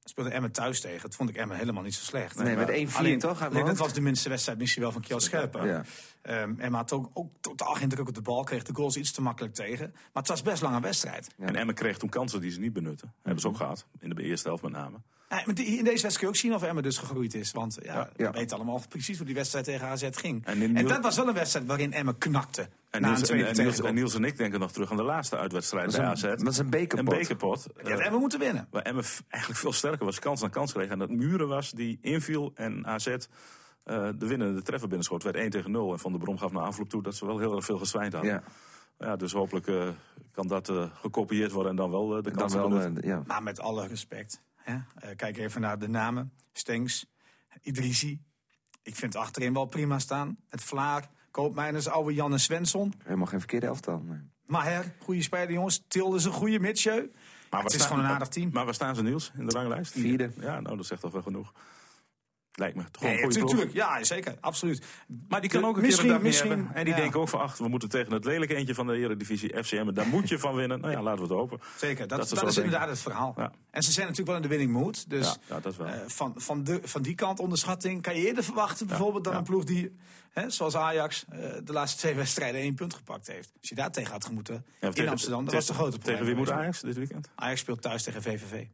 [SPEAKER 3] speelde Emmen thuis tegen. Dat vond ik Emmen helemaal niet zo slecht.
[SPEAKER 2] Nee, met 1-4
[SPEAKER 3] Alleen,
[SPEAKER 2] toch? uit
[SPEAKER 3] alleen
[SPEAKER 2] mijn
[SPEAKER 3] dat
[SPEAKER 2] hoofd?
[SPEAKER 3] was de minste wedstrijd misschien wel van Kjell Scherpen.
[SPEAKER 2] Ja.
[SPEAKER 3] Ehm, Emma had ook, ook totaal geen druk op de bal. Kreeg de goals iets te makkelijk tegen. Maar het was best lang een wedstrijd.
[SPEAKER 2] Ja.
[SPEAKER 4] En Emmen kreeg toen kansen die ze niet benutten.
[SPEAKER 2] Mhm.
[SPEAKER 4] Hebben ze ook gehad, in de eerste helft met name.
[SPEAKER 3] Eh, maar die- in deze wedstrijd kun je ook zien of Emma dus gegroeid is. Want ja,
[SPEAKER 2] ja.
[SPEAKER 3] we weten allemaal precies hoe die wedstrijd tegen AZ ging.
[SPEAKER 4] En
[SPEAKER 3] En,
[SPEAKER 4] in Niel-
[SPEAKER 3] dat was wel een wedstrijd waarin Emma knakte.
[SPEAKER 4] En
[SPEAKER 3] na
[SPEAKER 4] Niels,
[SPEAKER 3] een
[SPEAKER 4] en,
[SPEAKER 3] tweede
[SPEAKER 4] en Niels, en
[SPEAKER 3] tegengoal.
[SPEAKER 4] Niels en ik denken nog terug aan de laatste uitwedstrijd
[SPEAKER 2] Dat
[SPEAKER 4] bij
[SPEAKER 2] is
[SPEAKER 4] AZ.
[SPEAKER 2] een- dat is een
[SPEAKER 4] Een
[SPEAKER 2] bekerpot.
[SPEAKER 4] bekerpot.
[SPEAKER 3] Die had
[SPEAKER 4] eh,
[SPEAKER 3] Emma moeten winnen.
[SPEAKER 4] Waar Emmen f- eigenlijk veel sterker was, kans na kans kreeg. En dat Muren was die inviel en AZ eh, de winnende treffer binnenschoot. Werd 1 tegen 0. En Van der Brom gaf na afloop toe dat ze wel heel erg veel gezwijnd hadden.
[SPEAKER 2] Ja,
[SPEAKER 4] Ja, dus hopelijk eh, kan dat eh, gekopieerd worden en dan wel eh, de
[SPEAKER 2] dan
[SPEAKER 4] kans
[SPEAKER 2] wel, eh, ja.
[SPEAKER 3] Maar met alle respect. Hè? Eh, kijk even naar de namen. Stengs, Idrisi. Ik vind achterin wel prima staan. Het Vlaar, Koopmeiners, oude Jan en Svensson.
[SPEAKER 2] Helemaal geen verkeerde elftal. nee.
[SPEAKER 3] Maher, goede speler jongens. Tilde is een goede Mitsjeu.
[SPEAKER 4] waar
[SPEAKER 3] het is
[SPEAKER 4] staan-
[SPEAKER 3] gewoon een aardig team.
[SPEAKER 4] Maar waar staan ze Niels in de ranglijst?
[SPEAKER 2] Vierde.
[SPEAKER 4] Ja, nou dat zegt toch wel genoeg. Lijkt me toch wel
[SPEAKER 3] Ja,
[SPEAKER 4] een
[SPEAKER 3] ja,
[SPEAKER 4] goede ploeg.
[SPEAKER 3] natuurlijk. Ja, zeker. Absoluut.
[SPEAKER 4] Maar die kan
[SPEAKER 3] De-
[SPEAKER 4] ook een keer een dag meer
[SPEAKER 3] misschien-
[SPEAKER 4] hebben. En die
[SPEAKER 3] ja.
[SPEAKER 4] denken ook van, ach, we moeten tegen het lelijke eentje van de Eredivisie FCM. en Daar moet je van winnen. Nou ja, laten we het hopen.
[SPEAKER 3] Zeker. Dat,
[SPEAKER 4] Dat
[SPEAKER 3] dat,
[SPEAKER 4] ze zo
[SPEAKER 3] is
[SPEAKER 4] denken.
[SPEAKER 3] inderdaad het verhaal.
[SPEAKER 4] Ja.
[SPEAKER 3] En ze zijn natuurlijk wel in de winning mood. Dus
[SPEAKER 4] Ja, ja, dat is wel.
[SPEAKER 3] eh, van, van, de, van die kant onderschatting kan je eerder verwachten bijvoorbeeld dan
[SPEAKER 4] ja.
[SPEAKER 3] een ploeg die, hè, zoals Ajax, eh, de laatste twee wedstrijden één punt gepakt heeft. Als je daar tegen had gemoeten
[SPEAKER 4] Ja,
[SPEAKER 3] in
[SPEAKER 4] tegen-
[SPEAKER 3] Amsterdam, dat
[SPEAKER 4] tegen-
[SPEAKER 3] was de grote probleem
[SPEAKER 4] Tegen wie moet
[SPEAKER 3] geweest.
[SPEAKER 4] Ajax dit weekend?
[SPEAKER 3] Ajax speelt thuis tegen VVV.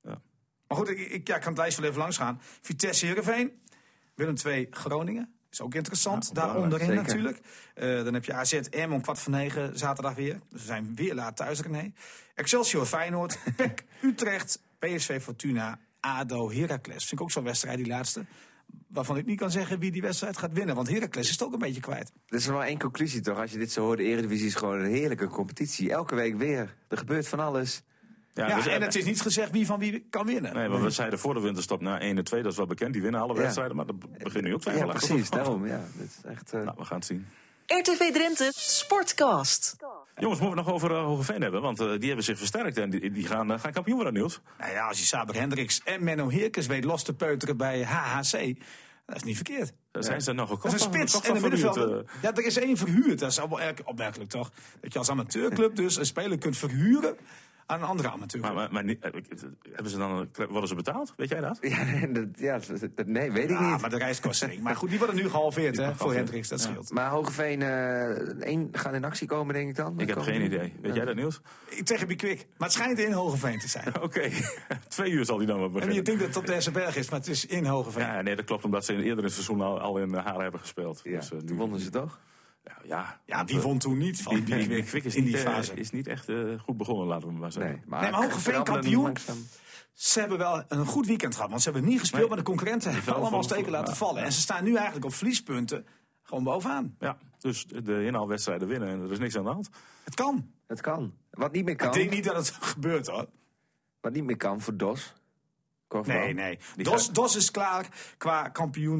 [SPEAKER 4] Ja.
[SPEAKER 3] Maar goed, ik, ik ja, ik kan het lijst wel even langs gaan. Vitesse Heerenveen, Willem II Groningen. Is ook interessant,
[SPEAKER 2] Ja,
[SPEAKER 3] daar onderin
[SPEAKER 2] zeker.
[SPEAKER 3] natuurlijk. Eh, dan heb je AZ M om kwart voor negen zaterdag weer. Dus we zijn weer laat thuis, René. Excelsior Feyenoord, PEC Utrecht, PSV Fortuna, ADO Heracles. Vind ik ook zo'n wedstrijd, die laatste. Waarvan ik niet kan zeggen wie die wedstrijd gaat winnen. Want Heracles is het ook een beetje kwijt.
[SPEAKER 2] Er is maar één conclusie toch? Als je dit zo hoort, de Eredivisie is gewoon een heerlijke competitie. Elke week weer. Er gebeurt van alles.
[SPEAKER 3] Ja,
[SPEAKER 4] dus-
[SPEAKER 3] en het is niet gezegd wie van wie kan winnen.
[SPEAKER 4] Nee, want we zeiden voor de winterstop, nou 1 en 2, dat is wel bekend. Die winnen alle
[SPEAKER 2] Ja.
[SPEAKER 4] wedstrijden, maar dat beginnen nu ook
[SPEAKER 2] Ja,
[SPEAKER 4] twijfel achter.
[SPEAKER 2] precies. Daarom, ja. Dat is echt, eh,
[SPEAKER 4] Nou, we gaan het zien.
[SPEAKER 1] RTV Drenthe Sportcast.
[SPEAKER 4] Jongens, moeten we het nog over eh, Hogeveen hebben? Want eh, die hebben zich versterkt en die, die gaan, eh, gaan kampioen worden, Niels.
[SPEAKER 3] Nou ja, als je Saber Hendricks en Menno Heerkens weet los te peuteren bij HHC, dat is niet verkeerd.
[SPEAKER 4] Zijn ze nog
[SPEAKER 3] Dat
[SPEAKER 4] gekocht?
[SPEAKER 3] is een spits en een middenvelder.
[SPEAKER 4] eh.
[SPEAKER 3] Ja, er is één verhuurd. Dat is allemaal erg opmerkelijk, toch? Dat je als amateurclub dus een speler kunt verhuren aan een andere amateurclub.
[SPEAKER 4] Maar, maar, maar niet- eh, ik- eh, hebben ze dan, eh, worden ze betaald? Weet jij dat?
[SPEAKER 2] [laughs] ja, nee, dat, ja, dat- dat- nee, weet ik
[SPEAKER 3] Ah,
[SPEAKER 2] niet.
[SPEAKER 3] maar de reiskosten. niet. Maar goed, die worden nu gehalveerd hè, voor
[SPEAKER 4] gehalveerd.
[SPEAKER 3] Hendricks, dat scheelt.
[SPEAKER 2] Maar Hogeveen eh, één gaat in actie komen, denk ik dan.
[SPEAKER 4] Ik heb geen idee. Weet jij dat,
[SPEAKER 2] [laughs]
[SPEAKER 4] Niels?
[SPEAKER 3] Ik Tegen Bikwik. Maar het schijnt in Hogeveen te zijn.
[SPEAKER 4] Oké, [laughs] twee uur zal die dan wel
[SPEAKER 3] En je
[SPEAKER 4] beginnen.
[SPEAKER 3] denkt dat het op deze berg is, maar het is in Hogeveen.
[SPEAKER 4] Ja, nee, dat klopt, omdat ze in eerder in het seizoen al, al in haar hebben gespeeld.
[SPEAKER 2] Ja,
[SPEAKER 4] Dus, eh, nu-
[SPEAKER 2] toen wonnen ze toch?
[SPEAKER 4] Ja, ja,
[SPEAKER 3] Ja,
[SPEAKER 4] want,
[SPEAKER 3] die
[SPEAKER 4] eh,
[SPEAKER 3] won toen niet van
[SPEAKER 4] Die, die, die
[SPEAKER 3] Bikwik
[SPEAKER 4] Kwik is,
[SPEAKER 3] in
[SPEAKER 4] niet,
[SPEAKER 3] Oh, die
[SPEAKER 4] eh,
[SPEAKER 3] fase.
[SPEAKER 4] is niet echt eh, goed begonnen, laten we maar zeggen.
[SPEAKER 3] Nee, maar Hogeveen
[SPEAKER 2] krabbelen
[SPEAKER 3] kampioen?
[SPEAKER 2] langzaam.
[SPEAKER 3] Ze hebben wel een goed weekend gehad, want ze hebben niet gespeeld, maar de concurrenten hebben
[SPEAKER 4] wel
[SPEAKER 3] allemaal
[SPEAKER 4] van-
[SPEAKER 3] steken laten
[SPEAKER 4] ja.
[SPEAKER 3] vallen. En ze staan nu eigenlijk op verliespunten gewoon bovenaan.
[SPEAKER 4] Ja, dus de inhaalwedstrijden winnen en er is niks aan de hand.
[SPEAKER 3] Het kan.
[SPEAKER 2] Het kan. Wat niet meer
[SPEAKER 3] Ik
[SPEAKER 2] kan.
[SPEAKER 3] denk niet dat het [laughs] gebeurt hoor.
[SPEAKER 2] Wat niet meer kan voor Dos. Korfbal.
[SPEAKER 3] Nee, nee. DOS, DOS is klaar qua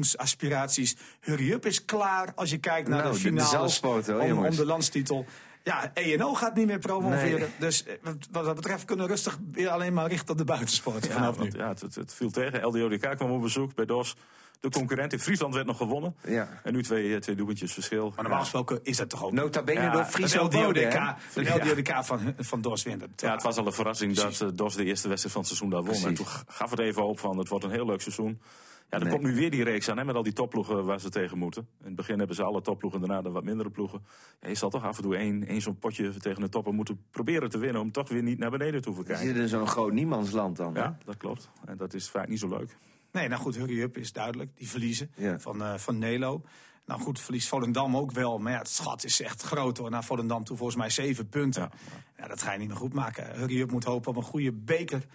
[SPEAKER 3] kampioensaspiraties. Hurry Up is klaar als je kijkt naar
[SPEAKER 2] Nou,
[SPEAKER 3] de
[SPEAKER 2] de- de
[SPEAKER 3] finales
[SPEAKER 2] zaalspoten, hoor,
[SPEAKER 3] om, om
[SPEAKER 2] jongens.
[SPEAKER 3] de landstitel. Ja, ENO gaat niet meer promoveren.
[SPEAKER 2] Nee.
[SPEAKER 3] Dus eh, wat- wat dat betreft kunnen we rustig weer alleen maar richten op de buitensport vanaf nu.
[SPEAKER 4] want, ja, het, het, het viel tegen. LDODK kwam op bezoek bij DOS. De concurrent in Friesland werd nog gewonnen.
[SPEAKER 2] Ja.
[SPEAKER 4] En nu twee, eh, twee doelpuntjes verschil.
[SPEAKER 3] Maar normaal gesproken is dat toch ook...
[SPEAKER 2] Nota bene
[SPEAKER 4] Ja,
[SPEAKER 2] door
[SPEAKER 4] dat
[SPEAKER 3] een
[SPEAKER 2] Friso Bode, hè?
[SPEAKER 3] LDODK, een LDODK van, van DOS wint. Dat
[SPEAKER 4] ja, het was al een verrassing
[SPEAKER 3] Precies.
[SPEAKER 4] dat eh, DOS de eerste wedstrijd van het seizoen daar won.
[SPEAKER 2] Precies.
[SPEAKER 4] En toen gaf het even op van het wordt een heel leuk seizoen. Ja, er
[SPEAKER 2] Nee.
[SPEAKER 4] komt nu weer die reeks aan hè, met al die topploegen waar ze tegen moeten. In het begin hebben ze alle topploegen, daarna de wat mindere ploegen. Ja, je zal toch af en toe één, één zo'n potje tegen de toppen moeten proberen te winnen... om toch weer niet naar beneden te hoeven
[SPEAKER 2] Ze
[SPEAKER 4] kijken.
[SPEAKER 2] zitten in zo'n groot niemandsland dan. hè?
[SPEAKER 4] Ja, dat klopt. En dat is vaak niet zo leuk.
[SPEAKER 3] Nee, nou goed, Hurry Up is duidelijk. Die verliezen
[SPEAKER 2] Ja.
[SPEAKER 3] van, eh, van Nelo. Nou goed, verliest Volendam ook wel. Maar ja, het schat is echt groot hoor. Naar Volendam toe volgens mij zeven punten. Ja.
[SPEAKER 4] Ja.
[SPEAKER 3] dat ga je niet meer goed maken. Hurry Up moet hopen op een goede beker.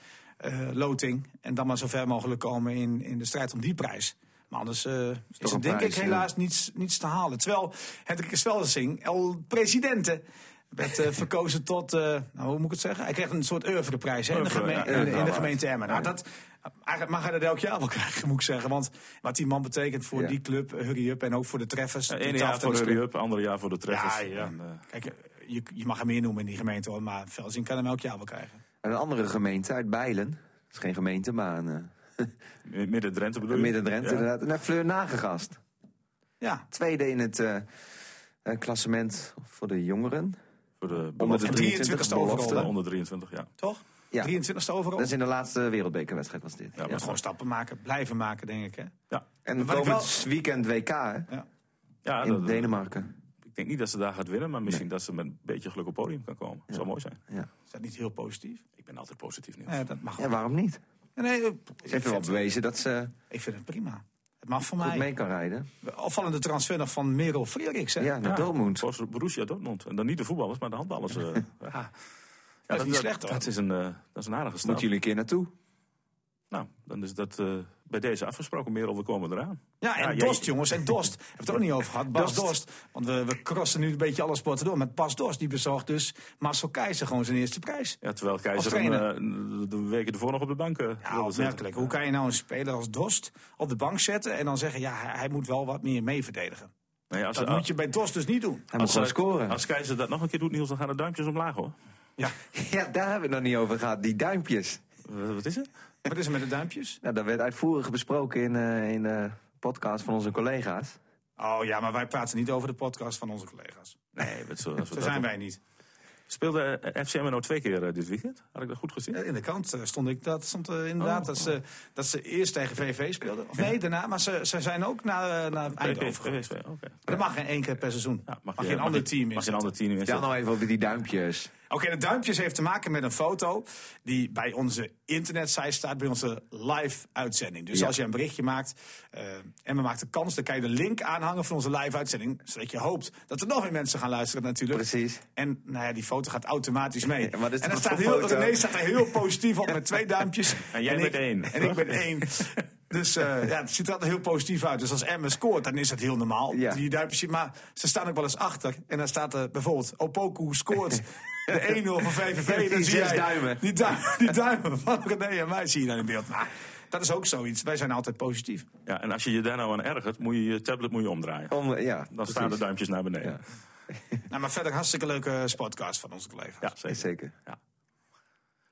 [SPEAKER 3] eh, loting. En dan maar zo ver mogelijk komen in, in de strijd om die prijs. Maar anders eh, is
[SPEAKER 2] een
[SPEAKER 3] er denk
[SPEAKER 2] prijs,
[SPEAKER 3] ik
[SPEAKER 2] ja.
[SPEAKER 3] helaas niets, niets te halen. Terwijl Hendrik Svelsing, El Presidente, werd eh, verkozen tot, eh, nou, hoe moet ik het zeggen? Hij kreeg een soort oeuvreprijs hè, in, de
[SPEAKER 4] Oeuvre,
[SPEAKER 3] geme-
[SPEAKER 4] ja,
[SPEAKER 3] in, de- in de
[SPEAKER 2] inderdaad.
[SPEAKER 3] gemeente Emmen. Nou, dat eigenlijk mag hij dat elk jaar wel [laughs] krijgen, moet ik zeggen. Want wat die man betekent voor
[SPEAKER 2] Ja.
[SPEAKER 3] die club, eh, Hurry Up en ook voor de treffers.
[SPEAKER 4] Ja,
[SPEAKER 3] de
[SPEAKER 4] Ene jaar voor de
[SPEAKER 3] tafeltennisclub.
[SPEAKER 4] hurry-up, andere jaar voor de treffers.
[SPEAKER 3] Ja, ja.
[SPEAKER 4] En, eh,
[SPEAKER 3] Kijk, eh, je, je mag hem meer noemen in die gemeente hoor, maar Velzing kan hem elk jaar wel krijgen.
[SPEAKER 2] En een andere gemeente uit Bijlen. Dat is geen gemeente, maar een
[SPEAKER 4] in Midden-Drenthe
[SPEAKER 2] eh
[SPEAKER 4] bedoel je?
[SPEAKER 2] midden-Drenthe
[SPEAKER 4] Ja.
[SPEAKER 2] inderdaad. Naar Fleur Nagegast.
[SPEAKER 3] Ja,
[SPEAKER 2] Tweede in het eh, eh, klassement voor de jongeren.
[SPEAKER 4] Voor de
[SPEAKER 2] Onder de
[SPEAKER 4] belofte.
[SPEAKER 3] 23e overal,
[SPEAKER 2] belofte.
[SPEAKER 3] hè?
[SPEAKER 4] Onder 23, ja.
[SPEAKER 3] toch?
[SPEAKER 2] Ja.
[SPEAKER 3] 23ste overal.
[SPEAKER 2] Dat is in de laatste wereldbekerwedstrijd was dit.
[SPEAKER 4] Ja,
[SPEAKER 3] Je moet gewoon stappen maken, blijven maken, denk ik. Hè?
[SPEAKER 4] Ja,
[SPEAKER 2] En
[SPEAKER 3] Wat ik
[SPEAKER 2] komend weekend WK hè,
[SPEAKER 4] ja
[SPEAKER 2] in
[SPEAKER 4] Ah, dat-
[SPEAKER 2] Denemarken.
[SPEAKER 4] ik denk niet dat ze daar gaat winnen, maar misschien dat ze met een beetje geluk op het podium kan komen. Zou mooi zijn.
[SPEAKER 2] Ja.
[SPEAKER 3] Is dat niet heel positief?
[SPEAKER 4] Ik ben altijd positief nieuws.
[SPEAKER 3] Nee, dat mag
[SPEAKER 2] ja,
[SPEAKER 3] wel.
[SPEAKER 2] waarom niet? Ze
[SPEAKER 3] Nee, eh, ik,
[SPEAKER 2] heeft wel
[SPEAKER 3] vind,
[SPEAKER 2] bewezen dat ze
[SPEAKER 3] ik vind het prima. Het mag voor
[SPEAKER 2] goed
[SPEAKER 3] mij.
[SPEAKER 2] mee kan rijden.
[SPEAKER 3] Opvallende transfer nog van Merel Frederiks. Hè?
[SPEAKER 2] Ja, naar Dortmund.
[SPEAKER 4] Zoals Borussia Dortmund. En dan niet de voetballers, maar de handballers.
[SPEAKER 3] [laughs]
[SPEAKER 4] eh, ja. Ja,
[SPEAKER 3] is niet slecht, hoor.
[SPEAKER 4] Dat is een, eh, dat is een aardige stap.
[SPEAKER 2] Moeten jullie een keer naartoe?
[SPEAKER 4] Nou, dan is dat eh, bij deze afgesproken. Merel, we komen eraan.
[SPEAKER 3] Ja, en
[SPEAKER 4] Ja, jij-
[SPEAKER 3] Dost, jongens. En Dost. Hebben we het ook niet over gehad. Bas Dost. Want we, we crossen nu een beetje alle sporten door. Met Bas Dost, die bezorgt dus Marcel Keizer gewoon zijn eerste prijs.
[SPEAKER 4] Ja, terwijl Keizer
[SPEAKER 3] Als
[SPEAKER 4] hem,
[SPEAKER 3] trainer.
[SPEAKER 4] eh, de weken ervoor nog op de bank eh,
[SPEAKER 3] Ja,
[SPEAKER 4] wilde zetten.
[SPEAKER 3] opmerkelijk. Hoe kan je nou een speler als Dost op de bank zetten en dan zeggen, ja, hij hij moet wel wat meer mee verdedigen.
[SPEAKER 4] Nee, als,
[SPEAKER 3] Dat moet je bij Dost dus niet doen.
[SPEAKER 2] Hij moet gewoon scoren.
[SPEAKER 4] Als Keizer dat nog een keer doet, Niels, dan gaan de duimpjes omlaag, hoor.
[SPEAKER 3] Ja.
[SPEAKER 2] [laughs] Ja, daar hebben we het nog niet over gehad. Die duimpjes.
[SPEAKER 4] Eh, Wat wat is het?
[SPEAKER 3] Wat is er met de duimpjes?
[SPEAKER 2] Nou, dat werd uitvoerig besproken in, eh, in de podcast van onze collega's.
[SPEAKER 3] Oh ja, maar wij praten niet over de podcast van onze collega's.
[SPEAKER 4] Nee, wat zo, als we
[SPEAKER 3] Zo
[SPEAKER 4] dat
[SPEAKER 3] zijn
[SPEAKER 4] doen.
[SPEAKER 3] wij niet.
[SPEAKER 4] Speelde eh, FC Emmen nou twee keer eh, dit weekend? Had ik dat goed gezien?
[SPEAKER 3] Ja, In de krant eh, stond ik dat stond eh, inderdaad dat, ze, dat ze eerst tegen VV speelden. Of nee, daarna. Maar ze, ze zijn ook naar, eh, naar Eindhoven
[SPEAKER 4] PSV,
[SPEAKER 3] geweest.
[SPEAKER 4] PSV, oké.
[SPEAKER 3] Maar dat mag geen één keer per seizoen.
[SPEAKER 4] Ja,
[SPEAKER 3] mag,
[SPEAKER 4] je-
[SPEAKER 3] geen ander
[SPEAKER 4] je-
[SPEAKER 3] team in.
[SPEAKER 4] Mag geen ander team in.
[SPEAKER 2] Vertel nou even over die duimpjes.
[SPEAKER 3] Oké, de duimpjes heeft te maken met een foto die bij onze internetsite staat, bij onze live uitzending. Dus
[SPEAKER 2] Ja.
[SPEAKER 3] als je een berichtje maakt eh, en we maken de kans, dan kan je de link aanhangen van onze live uitzending. Zodat je hoopt dat er nog meer mensen gaan luisteren natuurlijk.
[SPEAKER 2] Precies.
[SPEAKER 3] En nou ja, die foto gaat automatisch mee.
[SPEAKER 2] Ja, maar dit is
[SPEAKER 3] en dan
[SPEAKER 2] toch
[SPEAKER 3] staat
[SPEAKER 2] een
[SPEAKER 3] heel,
[SPEAKER 2] foto?
[SPEAKER 3] René staat er heel positief op met twee duimpjes.
[SPEAKER 4] En jij
[SPEAKER 3] ik-
[SPEAKER 4] met één.
[SPEAKER 3] En ik ben één. Dus [laughs] eh, ja, het ziet er altijd heel positief uit. Dus als Emmen scoort, dan is dat heel normaal.
[SPEAKER 2] Ja.
[SPEAKER 3] Die duimpjes, maar ze staan ook wel eens achter. En dan staat er bijvoorbeeld, Opoku [laughs] scoort de 1-0 van VVV. Dan
[SPEAKER 2] Die
[SPEAKER 3] zie
[SPEAKER 2] zes
[SPEAKER 3] jij
[SPEAKER 2] duimen.
[SPEAKER 3] Die, duim- die duimen van René en mij zie je dan in beeld. Nou, dat is ook zoiets. Wij zijn altijd positief.
[SPEAKER 4] Ja, en als je je daar nou aan ergert, moet je je tablet moet je omdraaien. Dan
[SPEAKER 2] Om, eh, ja,
[SPEAKER 4] staan de duimpjes naar beneden.
[SPEAKER 2] Ja.
[SPEAKER 4] Ja,
[SPEAKER 3] Nou, maar verder een hartstikke leuke podcast van onze collega's.
[SPEAKER 4] zeker.
[SPEAKER 2] Zeker.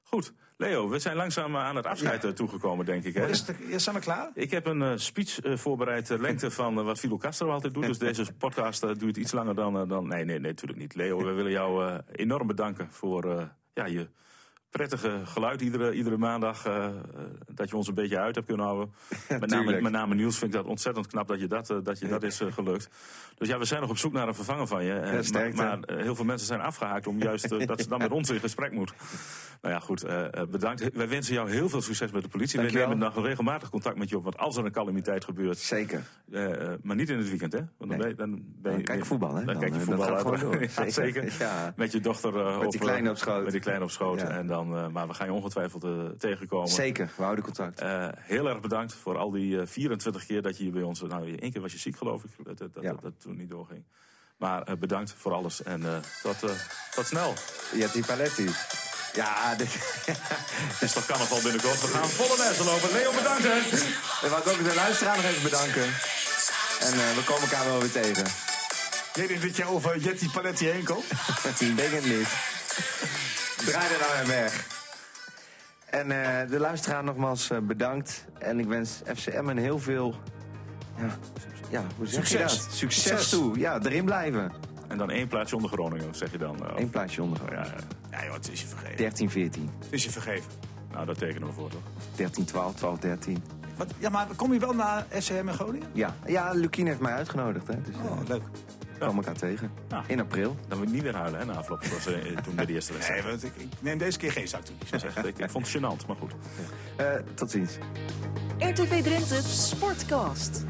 [SPEAKER 4] Goed, Leo, we zijn langzaam eh, aan het afscheid eh, toegekomen, denk ik. Hè?
[SPEAKER 3] Is het, ja, zijn we klaar?
[SPEAKER 4] Ik heb een eh, speech eh, voorbereid, de lengte van eh, wat Fidel Castro altijd doet. Dus
[SPEAKER 2] [laughs]
[SPEAKER 4] deze podcast eh, duurt iets langer dan, eh, dan... Nee, nee, nee, natuurlijk niet. Leo, we willen jou eh, enorm bedanken voor eh, ja, je prettige geluid iedere, iedere maandag. eh, eh, dat je ons een beetje uit hebt kunnen
[SPEAKER 2] [laughs]
[SPEAKER 4] houden. Met name,
[SPEAKER 2] Tuurlijk.
[SPEAKER 4] met name Niels vind ik dat ontzettend knap dat je dat, eh, dat, je dat is eh, gelukt. Dus ja, we zijn nog op zoek naar een vervanger van je. Eh,
[SPEAKER 2] Ja, sterkte.
[SPEAKER 4] maar maar, eh, heel veel mensen zijn afgehaakt om juist eh, dat ze
[SPEAKER 2] [laughs]
[SPEAKER 4] dan met ons in gesprek moet. Nou ja, goed, eh, eh, bedankt. Wij wensen jou heel veel succes met de politie. We
[SPEAKER 2] Dankjewel.
[SPEAKER 4] nemen nog regelmatig contact met je op, want als er een calamiteit gebeurt,
[SPEAKER 2] Zeker.
[SPEAKER 4] eh, eh, maar niet in het weekend, hè? Want dan,
[SPEAKER 2] Nee.
[SPEAKER 4] ben je, dan ben je-
[SPEAKER 2] Dan kijk je voetbal, hè?
[SPEAKER 4] Dan,
[SPEAKER 2] Dan,
[SPEAKER 4] kijk je
[SPEAKER 2] eh, dat
[SPEAKER 4] voetbal.
[SPEAKER 2] gaat gewoon door.
[SPEAKER 4] [laughs] Ja,
[SPEAKER 2] Zeker.
[SPEAKER 4] zeker.
[SPEAKER 2] [laughs] Ja.
[SPEAKER 4] Met je dochter. eh,
[SPEAKER 2] Met die
[SPEAKER 4] eh,
[SPEAKER 2] kleine op schoot.
[SPEAKER 4] Met die kleine op schoot.
[SPEAKER 2] Ja.
[SPEAKER 4] En dan, eh, maar we gaan je ongetwijfeld eh, tegenkomen.
[SPEAKER 2] Zeker. We houden contact.
[SPEAKER 4] Eh, heel erg bedankt voor al die eh, 24 keer dat je hier bij ons... Nou, één keer was je ziek, geloof ik, dat dat, dat,
[SPEAKER 2] Ja.
[SPEAKER 4] dat, toen niet doorging. Maar eh, bedankt voor alles en eh, tot, eh, tot snel.
[SPEAKER 2] Je hebt die paletti. Ja, dit... [laughs]
[SPEAKER 4] Het is toch carnaval binnenkort. We gaan volle mensen lopen. Leo, bedankt hè.
[SPEAKER 2] En wat ook de luisteraar nog even bedanken. En eh, we komen elkaar wel weer tegen.
[SPEAKER 3] Weet je dat je over Jetty Paletti heen komt?
[SPEAKER 2] Ik denk het niet. Draai er nou weer weg. En eh, de luisteraar nogmaals eh, bedankt. En ik wens FCM een heel veel... Ja, ja hoe zeg
[SPEAKER 3] Succes.
[SPEAKER 2] je dat? Succes,
[SPEAKER 3] Succes.
[SPEAKER 2] toe. Ja, erin blijven.
[SPEAKER 4] En dan één plaatsje onder Groningen, zeg je dan. eh, of-
[SPEAKER 2] Eén plaatsje onder.
[SPEAKER 4] ja, ja.
[SPEAKER 3] Ja joh, het is je vergeven.
[SPEAKER 2] 13, 14.
[SPEAKER 3] Het is je vergeven.
[SPEAKER 4] nou, daar tekenen we voor toch.
[SPEAKER 2] 13, 12, 12, 13.
[SPEAKER 3] Wat, ja, maar kom je wel naar SCM en Groningen?
[SPEAKER 2] Ja, ja Lukien heeft mij uitgenodigd. Hè. Dus eh,
[SPEAKER 3] Oh, leuk.
[SPEAKER 2] we komen elkaar tegen.
[SPEAKER 4] Ja.
[SPEAKER 2] In april.
[SPEAKER 4] Dan moet ik niet weer huilen hè, na afloop. Zoals eh, toen bij de eerste wedstrijd.
[SPEAKER 3] Nee, want ik, ik neem deze keer geen zakdoekjes.
[SPEAKER 4] Dat is echt- ik, ik vond het gênant, maar goed.
[SPEAKER 2] Eh, tot ziens.
[SPEAKER 1] RTV Drenthe Sportcast.